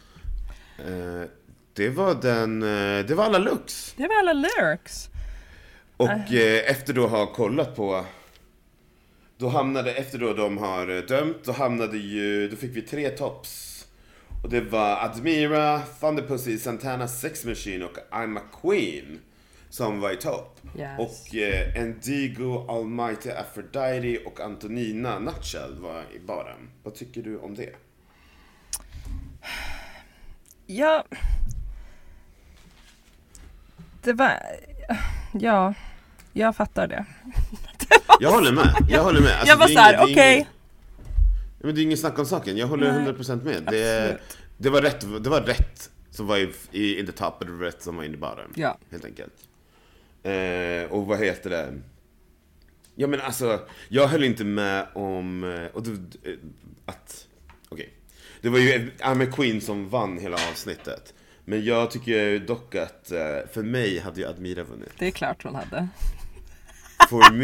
S1: Eh, det var den, eh, det var alla looks.
S2: Det var alla lyrics.
S1: Och eh, efter då ha kollat på, då hamnade, efter då de har eh, dömt, då hamnade ju, då fick vi tre tops. Och det var Admira, Thunderpussy, Santana, Sex Machine och I'm a Queen som var i topp.
S2: Yes.
S1: Och eh, Endigo, Almighty Aphrodite och Antonina Nutshell var i baren. Vad tycker du om det?
S2: Ja. Det var... Ja, jag fattar det.
S1: Jag håller med, jag håller med. Alltså,
S2: jag var
S1: det är
S2: såhär,
S1: inget- det är
S2: okej.
S1: inget- Ja, men det är inget snack om saken, jag håller 100% med. Det,
S2: absolut.
S1: det, var rätt, det var rätt som var i, i in the top och det var rätt som var in i baren.
S2: Ja.
S1: Helt enkelt. Eh, och vad heter det? Ja men alltså, jag höll inte med om eh, och, det- eh, att... Okej. Det var ju Amy Queen som vann hela avsnittet. Men jag tycker dock att, eh, för mig hade ju Admira vunnit.
S2: Det är klart hon hade.
S1: For me,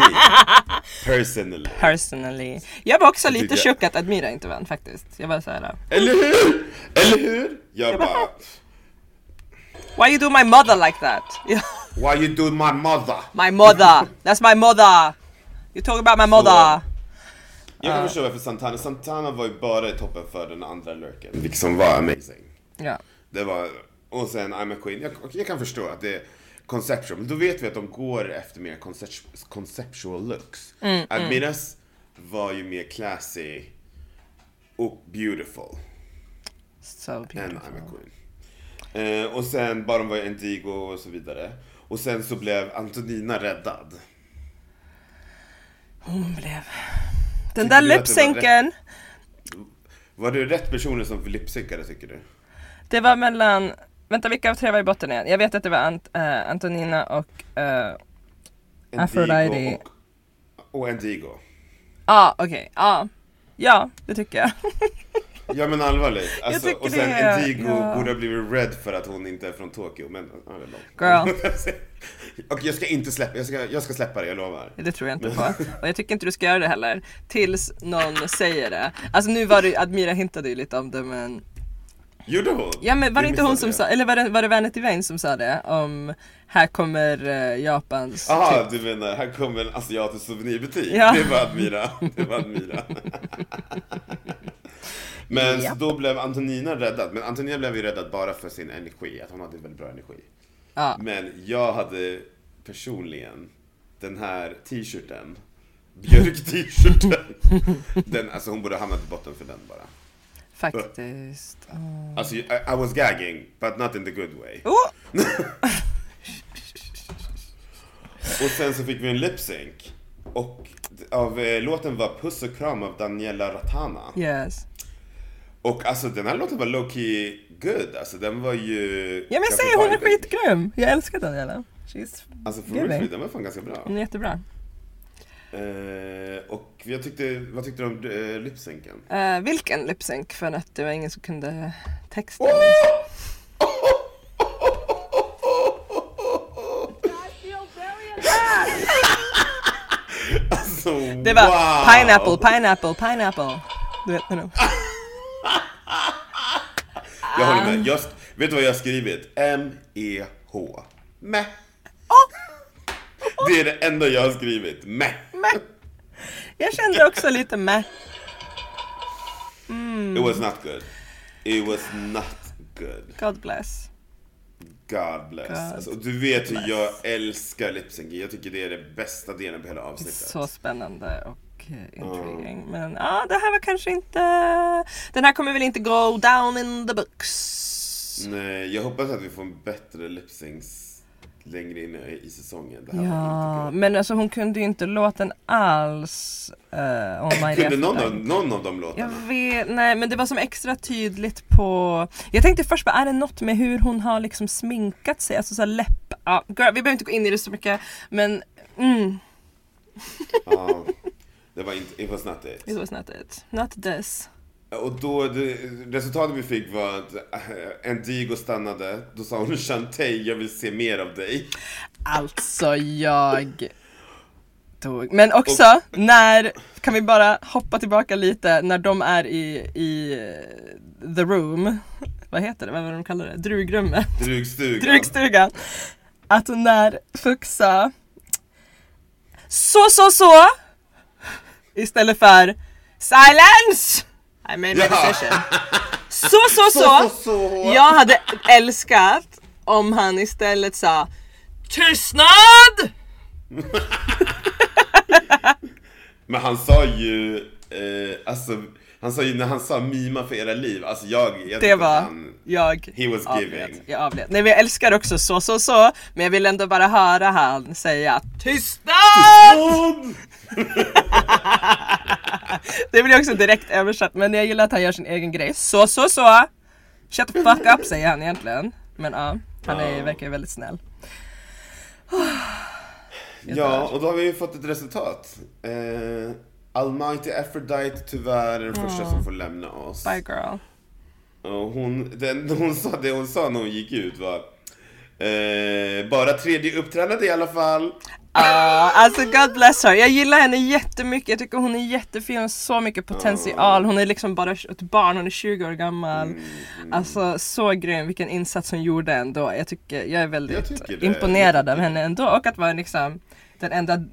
S1: personally.
S2: Personally. Jag var också lite
S1: tycker-
S2: chockad att Admira inte vann faktiskt. Jag var såhär,
S1: Eller hur? Eller hur? Jag bara,
S2: why you do my mother like that? Ja,
S1: why you do my mother?
S2: my mother, that's my mother! You talk about my mother!
S1: Jag kan förstå varför Santana, Santana var ju bara i toppen för den andra lurken. Vilket som var amazing.
S2: Ja.
S1: Det var, och sen I'm a Queen, jag, jag kan förstå att det är conceptual, men då vet vi att de går efter mer concept, conceptual looks. Admiras var ju mer classy och beautiful
S2: So
S1: än
S2: beautiful.
S1: I'm a Queen. Eh, och sen Baron var ju Indigo och så vidare. Och sen så blev Antonina räddad.
S2: Hon blev... Den där
S1: du att det var rätt?
S2: lipsynken,
S1: Var det rätt personer som lipsynkade tycker du?
S2: det var mellan... Vänta, vilka av tre var i botten igen? Jag vet att det var Ant- eh, Antonina och... eh,
S1: Indigo
S2: Aphrodite.
S1: Och, och Indigo.
S2: Ja, ah, okej. Ja. Ja, det tycker jag.
S1: Ja men allvarligt. Alltså,
S2: tycker
S1: och sen
S2: det är-
S1: Indigo
S2: ja.
S1: borde ha blivit red för att hon inte är från Tokyo. Men, ja, det är
S2: Girl.
S1: långt. och jag ska inte släppa, jag ska, jag ska släppa det, jag lovar.
S2: Det tror jag inte på. Och jag tycker inte du ska göra det heller. Tills någon säger det. Alltså nu var det ju- Admira hintade ju lite om det men...
S1: Gjorde hon?
S2: Ja men var det
S1: Jag
S2: inte hon
S1: missade
S2: som sa, eller var det, var det Vanity Vane som sa det? Om här kommer eh, Japans...
S1: Aha, du menar, här kommer en asiatisk souvenirbutik.
S2: Ja.
S1: Det var Admira. Det var Admira. Men
S2: Japp.
S1: då blev Antonina räddad. Men Antonina blev ju räddad bara för sin energi, att hon hade väldigt bra energi.
S2: Ja.
S1: Men jag hade personligen den här t-shirten, Björk-t-shirten. Den, alltså hon borde ha hamnat i botten för den bara.
S2: Faktiskt. Mm.
S1: Alltså I, I was gagging, but not in the good way.
S2: Oh!
S1: Och sen så fick vi en lip sync. Och av eh, låten var Puss och kram av Daniela Ratana.
S2: Yes.
S1: Och alltså den här låten var low-key good, alltså den var ju...
S2: Ja men jag
S1: ganska
S2: säger hon är
S1: vibig.
S2: skitgrym. Jag älskar Daniela. She's
S1: Alltså för
S2: giving.
S1: real, den var fan ganska bra.
S2: Hon är jättebra.
S1: Eh, och jag tyckte, vad tyckte du om eh, lipsynken?
S2: Eh, vilken lipsync för att det var ingen som kunde texten.
S1: Alltså,
S2: Det var
S1: wow!
S2: pineapple, pineapple, pineapple. Du vet nu.
S1: Jag håller med. Jag, sk- vet du vad jag har skrivit? E, M-E-H. Meh. Det är det enda jag har skrivit. Meh.
S2: Meh. Jag kände också lite meh.
S1: It was not good. It was not good.
S2: God bless.
S1: God bless.
S2: God
S1: alltså, och du vet hur jag älskar lipsync. Jag tycker det är det bästa delen på hela avsnittet.
S2: Så spännande och eh, intriguing. Men ja, det här var kanske inte... Den här kommer väl inte go down in the books.
S1: Nej, Eh, jag hoppas att vi får en bättre lipsyncs längre in i i säsongen. Det här var
S2: Ja,
S1: inte
S2: men alltså hon kunde ju inte låten alls. eh, om
S1: kul.
S2: My
S1: Kunde
S2: Left
S1: någon av,
S2: Eye.
S1: någon av de
S2: Jag
S1: låtarna?
S2: vet, nej men det var som extra tydligt på Jag tänkte först bara, är det något med hur hon har liksom sminkat sig? Alltså såhär läpp... Ja, girl, vi behöver inte gå in i det så mycket men mm,
S1: Ja. Det var inte, it was not it.
S2: it was not it. Not this.
S1: Och då, det, resultatet vi fick var att eh, Endigo stannade. Då sa hon Shantay, jag vill se mer av dig.
S2: Alltså jag tog... Men också när, kan vi bara hoppa tillbaka lite, när de är i, i eh, the room. Vad heter det? Vad var det de kallade det? Drugrummet.
S1: Drugstugan.
S2: Drugstugan. Att när Fuxa så så så istället för silence. I made my
S1: Ja.
S2: decision. Så så
S1: Så,
S2: så.
S1: så, så.
S2: Jag hade älskat om han istället sa tystnad.
S1: Men han sa ju, eh, alltså, han sa ju när han sa mima för era liv, alltså jag, jag tyckte
S2: Det
S1: att
S2: var
S1: han,
S2: jag.
S1: He was
S2: avled.
S1: giving.
S2: Jag avled. Nej men jag älskar också så så så. Men jag vill ändå bara höra han säga tystnad.
S1: Åh!
S2: Det blir också direkt översatt men jag gillar att han gör sin egen grej. Så så så! Shut the fuck up säger han egentligen. Men ja, han är,
S1: Ja.
S2: verkar ju väldigt snäll.
S1: Ja, och då har vi ju fått ett resultat. Eh, Almighty Aphrodite tyvärr är den första som får lämna oss.
S2: Bye girl.
S1: Och hon, den, hon sa, det hon sa när hon gick ut var eh, bara tredje upptränade i alla fall.
S2: Ja, alltså God bless her. Jag gillar henne jättemycket. Jag tycker hon är jättefin. Hon har så mycket potential. Hon är liksom bara ett barn. Hon är 20 år gammal.
S1: Mm.
S2: Alltså så grym. Vilken insats hon gjorde ändå. Jag, tycker, jag är
S1: Jag
S2: väldigt
S1: tycker det.
S2: imponerad
S1: Jag tycker
S2: av henne ändå. Och att vara liksom den enda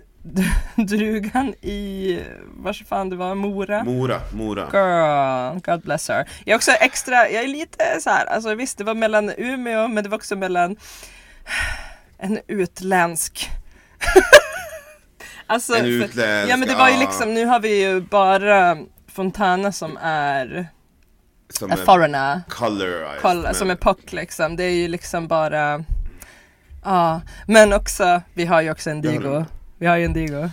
S2: drugan i, vars fan det var, Mora.
S1: Mora, Mora.
S2: Girl, God bless her. Jag är också extra, jag är lite så här, alltså visst det var mellan Umeå men det var också mellan en utländsk Alltså,
S1: En
S2: för-
S1: utländsk,
S2: ja men det var ju
S1: ja.
S2: liksom, nu har vi ju bara Fontana som är
S1: Som
S2: a
S1: är
S2: foreigner,
S1: colorized.
S2: kolla,
S1: men-
S2: som är pock liksom. Det är ju liksom bara, ja. Men också, vi har ju också en
S1: Jag håller
S2: digo.
S1: med.
S2: Vi har ju en digo.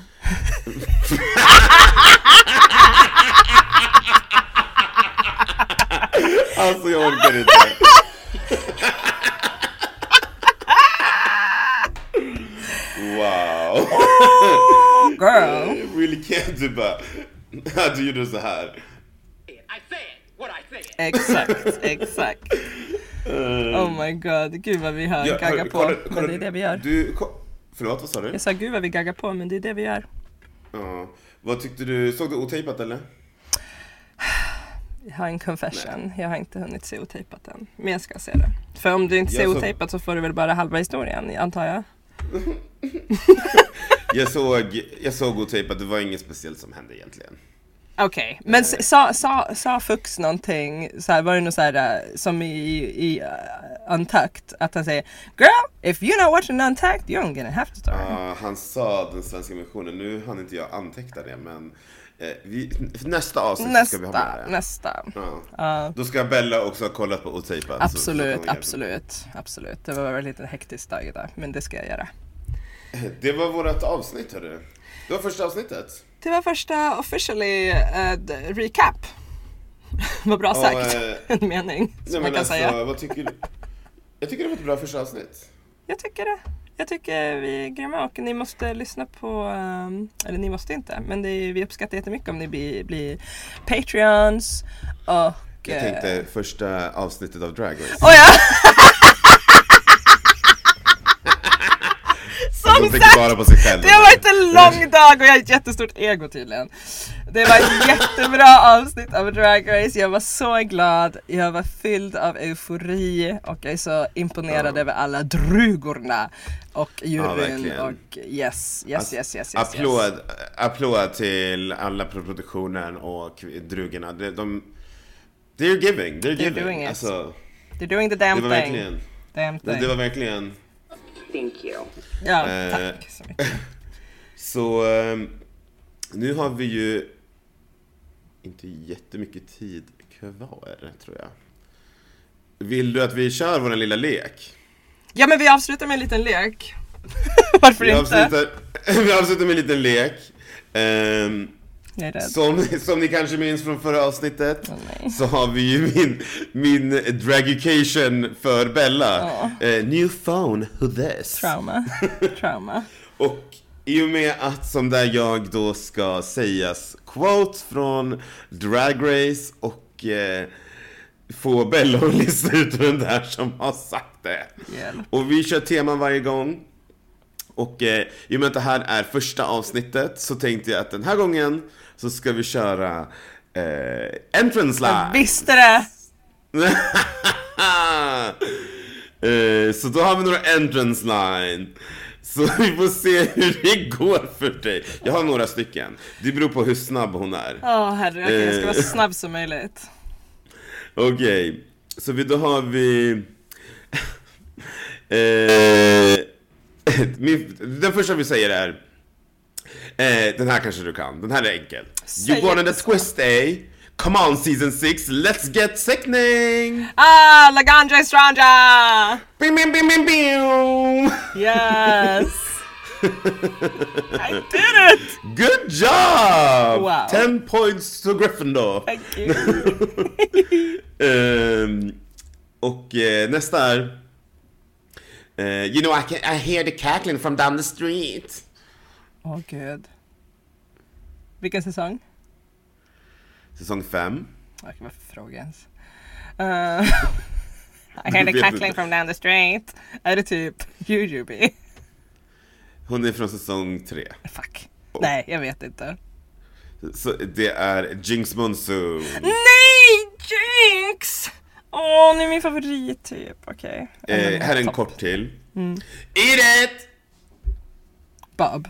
S1: Alltså jag orkar inte. wow.
S2: Girl!
S1: really can't du bara. Du gjorde så här.
S5: I said what I said.
S2: Exakt, exakt. Oh my god, gud vad vi har
S1: Eh. Ja,
S2: gaggat
S1: hörru,
S2: på.
S1: kolla-
S2: men
S1: kolla-
S2: det är det vi gör.
S1: Du, ko- förlåt, vad sa du?
S2: Jag sa gud vad vi gaggar på, men det är det vi gör.
S1: Ja. Vad tyckte du? Såg du otejpat eller?
S2: Jag har en confession, jag har inte hunnit se otejpat än. Men jag ska se det. För om du inte ser
S1: Jag så-
S2: otejpat så får du väl bara halva historien, antar jag.
S1: Jag såg, jag såg otejpat, det var inget speciellt som hände egentligen.
S2: Okej,
S1: Eh.
S2: men s- sa, sa, sa Fux någonting, så här, var det något så här eh, som i, i uh, Untucked, att han säger Girl, if you're not watching Untucked you're gonna have to start.
S1: Ja, Ah, han sa den svenska missionen, nu hann inte jag anteckna det men eh, vi, nästa avsnitt ska vi ha med
S2: nästa,
S1: det.
S2: nästa.
S1: Ja. Då ska Bella också ha kollat på och tejpat. Alltså, så- så kan
S2: Absolut,
S1: vi-
S2: absolut, absolut. Det var väl lite hektisk dag idag, men det ska jag göra.
S1: Det var vårt avsnitt hörru. Det var första avsnittet.
S2: Det var första officially eh, d- recap. Vad bra sagt.
S1: eh, alltså,
S2: en mening som man kan säga.
S1: vad tycker du? Jag tycker det var ett bra första avsnitt.
S2: Jag tycker det. Jag tycker vi är grymma och ni måste lyssna på, ehm, eller ni måste inte, men det är, vi uppskattar jättemycket om ni blir, blir Patreons och...
S1: Jag
S2: eh,
S1: tänkte första avsnittet av Drag Race.
S2: Åh ja!
S1: De
S2: Som
S1: tänker
S2: sagt!
S1: bara på sig själv.
S2: Det har varit en lång dag och jag har ett jättestort ego tydligen. Det var ett jättebra avsnitt av Drag Race. Jag var så glad, jag var fylld av eufori och jag är så imponerad över alla drugorna och juryn
S1: verkligen.
S2: och yes, yes, yes, yes, yes.
S1: Applåd,
S2: yes.
S1: applåd till alla på produktionen och drugorna. De, de, they're giving, they're giving.
S2: doing it.
S1: Alltså,
S2: They're doing the
S1: det
S2: damn
S1: var
S2: thing.
S1: verkligen,
S2: Damn
S1: det, det
S2: thing.
S1: var verkligen.
S3: Thank you.
S2: Ja,
S1: eh,
S2: tack så mycket.
S1: Så ehm, nu har vi ju inte jättemycket tid kvar tror jag. Vill du att vi kör vår lilla lek?
S2: Ja men vi avslutar med en liten lek. Varför
S1: Vi
S2: inte?
S1: avslutar, vi avslutar med en liten lek. Ehm,
S2: Jag är rädd.
S1: Som, som ni kanske minns från förra avsnittet
S2: Åh, nej.
S1: så har vi ju min, min dragucation för Bella.
S2: Ja.
S1: Eh, new phone, who this?
S2: Trauma. Trauma.
S1: Och i och med att som där jag då ska sägas quote från Drag Race och eh, få Bella att lista ut vem det är som har sagt det.
S2: Hjälp.
S1: Och vi kör teman varje gång. Och eh, i och med att det här är första avsnittet så tänkte jag att den här gången så ska vi köra eh, Entrance Line.
S2: Visste det!
S1: Eh, Så då har vi några entrance line. Så vi får se hur det går för dig. Jag har några stycken. Det beror på hur snabb hon är.
S2: Åh herregud, okej, jag ska vara
S1: Eh.
S2: så snabb som möjligt.
S1: Okej, så vi, då har vi... eh, min, den första vi säger är... Eh, den här kanske du kan, den här är enkel.
S2: Säg
S1: you wanted
S2: inte
S1: a twist eh? Come on season 6, let's get sickening!
S2: Ah, Laganja Stranja!
S1: Bim, bim, bim, bim, bim!
S2: Yes! I did it!
S1: Good job!
S2: Wow.
S1: 10 points to Gryffindor.
S2: Thank you.
S1: Ehm, och eh, nästa är... eh, you know I, can, I hear the cackling from down the street.
S2: Åh gud. Vilken säsong?
S1: Säsong 5.
S2: Okej, varför frågar jag ens? Eh, I heard
S1: vet
S2: a cackling
S1: inte.
S2: from down the street. Är det typ Jujube?
S1: Hon är från säsong 3.
S2: Fuck.
S1: Oh.
S2: Nej, jag vet inte.
S1: Så det är Jinx Monsoon. Eh,
S2: Nej! Jinx! Åh, oh, nu är min favorit typ. Okej.
S1: Eh, här är en kort till.
S2: Mm.
S1: Eat it!
S2: Bob.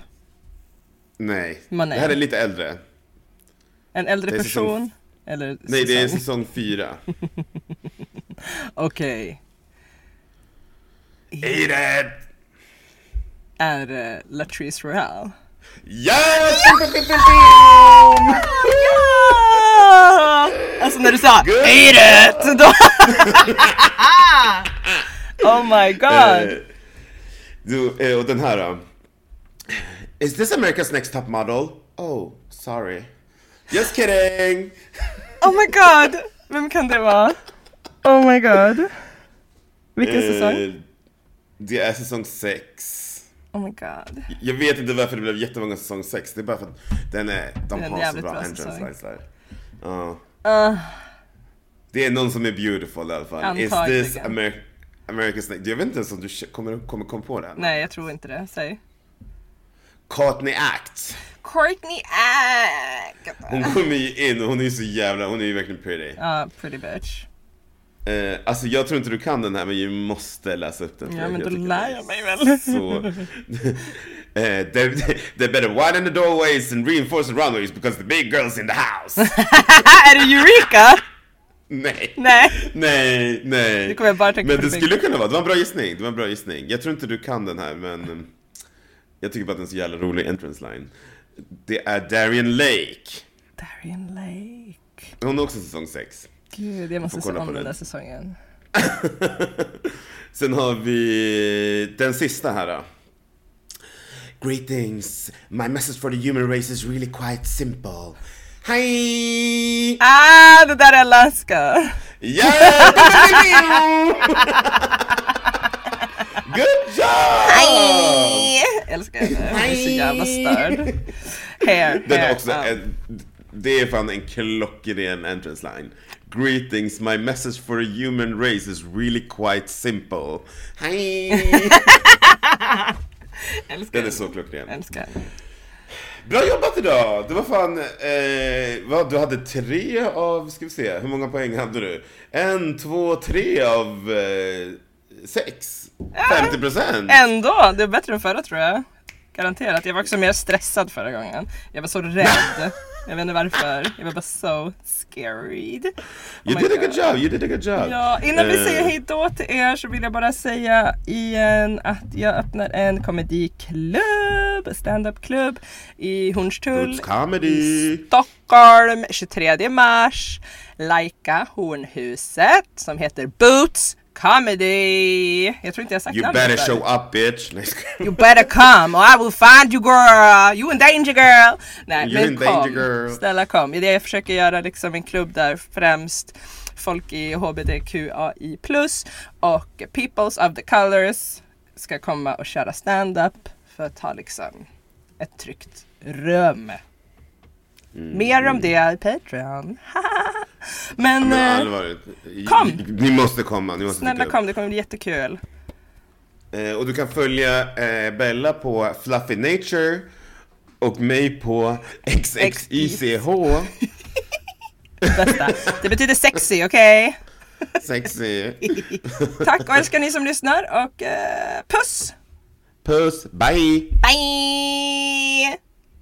S1: Nej.
S2: Men nej.
S1: Det här är lite äldre.
S2: En äldre
S1: Det är säsong-
S2: person? Eller
S1: Nej, det är
S2: säsong?
S1: säsong 4.
S2: Okej.
S1: Eat it!
S2: Är det Latrice Royale?
S1: Yes!
S2: Ja! Alltså när du sa
S1: Good.
S2: Eat it! Då... oh my god!
S1: Eh, du, eh, och den här då. Is this America's next top model? Oh, sorry. Just kidding!
S2: Oh my god! Vem kan det vara? Oh my god! Vilken säsong?
S1: Eh, det är säsong 6.
S2: Oh my god.
S1: Jag vet inte varför det blev jättemånga säsong 6. Det är bara för att den är, de
S2: är en
S1: har så
S2: jävligt
S1: bra
S2: bra
S1: entrance
S2: säsong. Ah.
S1: lines där. Ja. Det är någon som är beautiful i alla fall. Is this
S2: Antagligen.
S1: Amer- America's next... Jag vet inte ens om du k- kommer, kommer komma på det här.
S2: Nej, jag tror inte det. Säg.
S1: Courtney Act.
S2: Courtney Act!
S1: Hon kommer ju in och hon är ju så jävla... Hon är ju verkligen pretty.
S2: Ja, pretty bitch.
S1: Eh, alltså jag tror inte du kan den här men du måste läsa upp den för
S2: Ja,
S1: jag
S2: men då
S1: tycker
S2: lär
S1: den är
S2: jag mig väl.
S1: Så... Uh, they, they better widen the doorways and reinforce the runways because the big girl's in the house.
S2: är det Eureka?
S1: nej.
S2: Nej.
S1: Nej, nej.
S2: Nu kommer jag bara tänka
S1: men
S2: på
S1: det
S2: det
S1: skulle kunna vara, det var en bra gissning. Det var en bra gissning. Jag tror inte du kan den här, men um, jag tycker bara att den är så jävla rolig entrance line. Det är Darian Lake.
S2: Darien Lake.
S1: Hon är också säsong 6.
S2: Gud, jag
S1: Får
S2: måste se
S1: kolla på
S2: om
S1: den.
S2: den där säsongen.
S1: Sen har vi den sista här då. Greetings! My message for the human race is really quite simple. Hej!
S2: Ah, det där är Alaska!
S1: Yeah! Good job!
S2: Jag älskar henne, hon är så jävla störd. Hair,
S1: Den är
S2: hair,
S1: också eh,
S2: ja.
S1: en, det är fan en klockren entrance line. Greetings, my message for the human race is really quite simple. Hej! Den
S2: älskar
S1: är
S2: henne.
S1: så klockren.
S2: Älskar.
S1: Bra jobbat idag! Det var fan, eh, vad, du hade tre av, ska vi se, hur många poäng hade du? En, två, tre av eh, sex. 50 procent!
S2: Ändå, det är bättre än förra tror jag. Garanterat. Jag var också mer stressad förra gången. Jag var så rädd. Jag vet inte varför. Jag var bara so scared. Oh
S1: You
S2: my
S1: did a
S2: God.
S1: good job, you did a good job!
S2: Ja, innan vi
S1: Eh,
S2: säger hej då till er så vill jag bara säga igen att jag öppnar en komediklubb, standupklubb i Hornstull
S1: It's comedy!
S2: Stockholm 23 mars. Lajka Hornhuset som heter Boots Comedy. Jag tror inte jag har sagt
S1: You
S2: namnet
S1: better
S2: förut.
S1: show up bitch! Nej, jag skojar.
S2: You better come or I will find you girl! You in danger girl! Nej,
S1: You're
S2: men
S1: in
S2: kom.
S1: danger, girl.
S2: Snälla kom. Det är det jag försöker göra liksom en klubb där främst folk i HBTQAI+, och peoples of the colors ska komma och köra stand-up för att ha liksom ett tryggt rum.
S1: Mm.
S2: Mer om det i Patreon. Men,
S1: Men
S2: men
S1: allvarligt,
S2: Kom.
S1: ni måste komma, ni måste
S2: snälla
S1: dyka upp.
S2: kom, det kommer bli jättekul.
S1: Eh, och du kan följa eh, Bella på Fluffy Nature och mig på XXYCH
S2: Bästa. Det betyder sexy, okej?
S1: Sexy
S2: Tack och älskar ni som lyssnar och eh, puss!
S1: Puss, bye!
S2: Bye!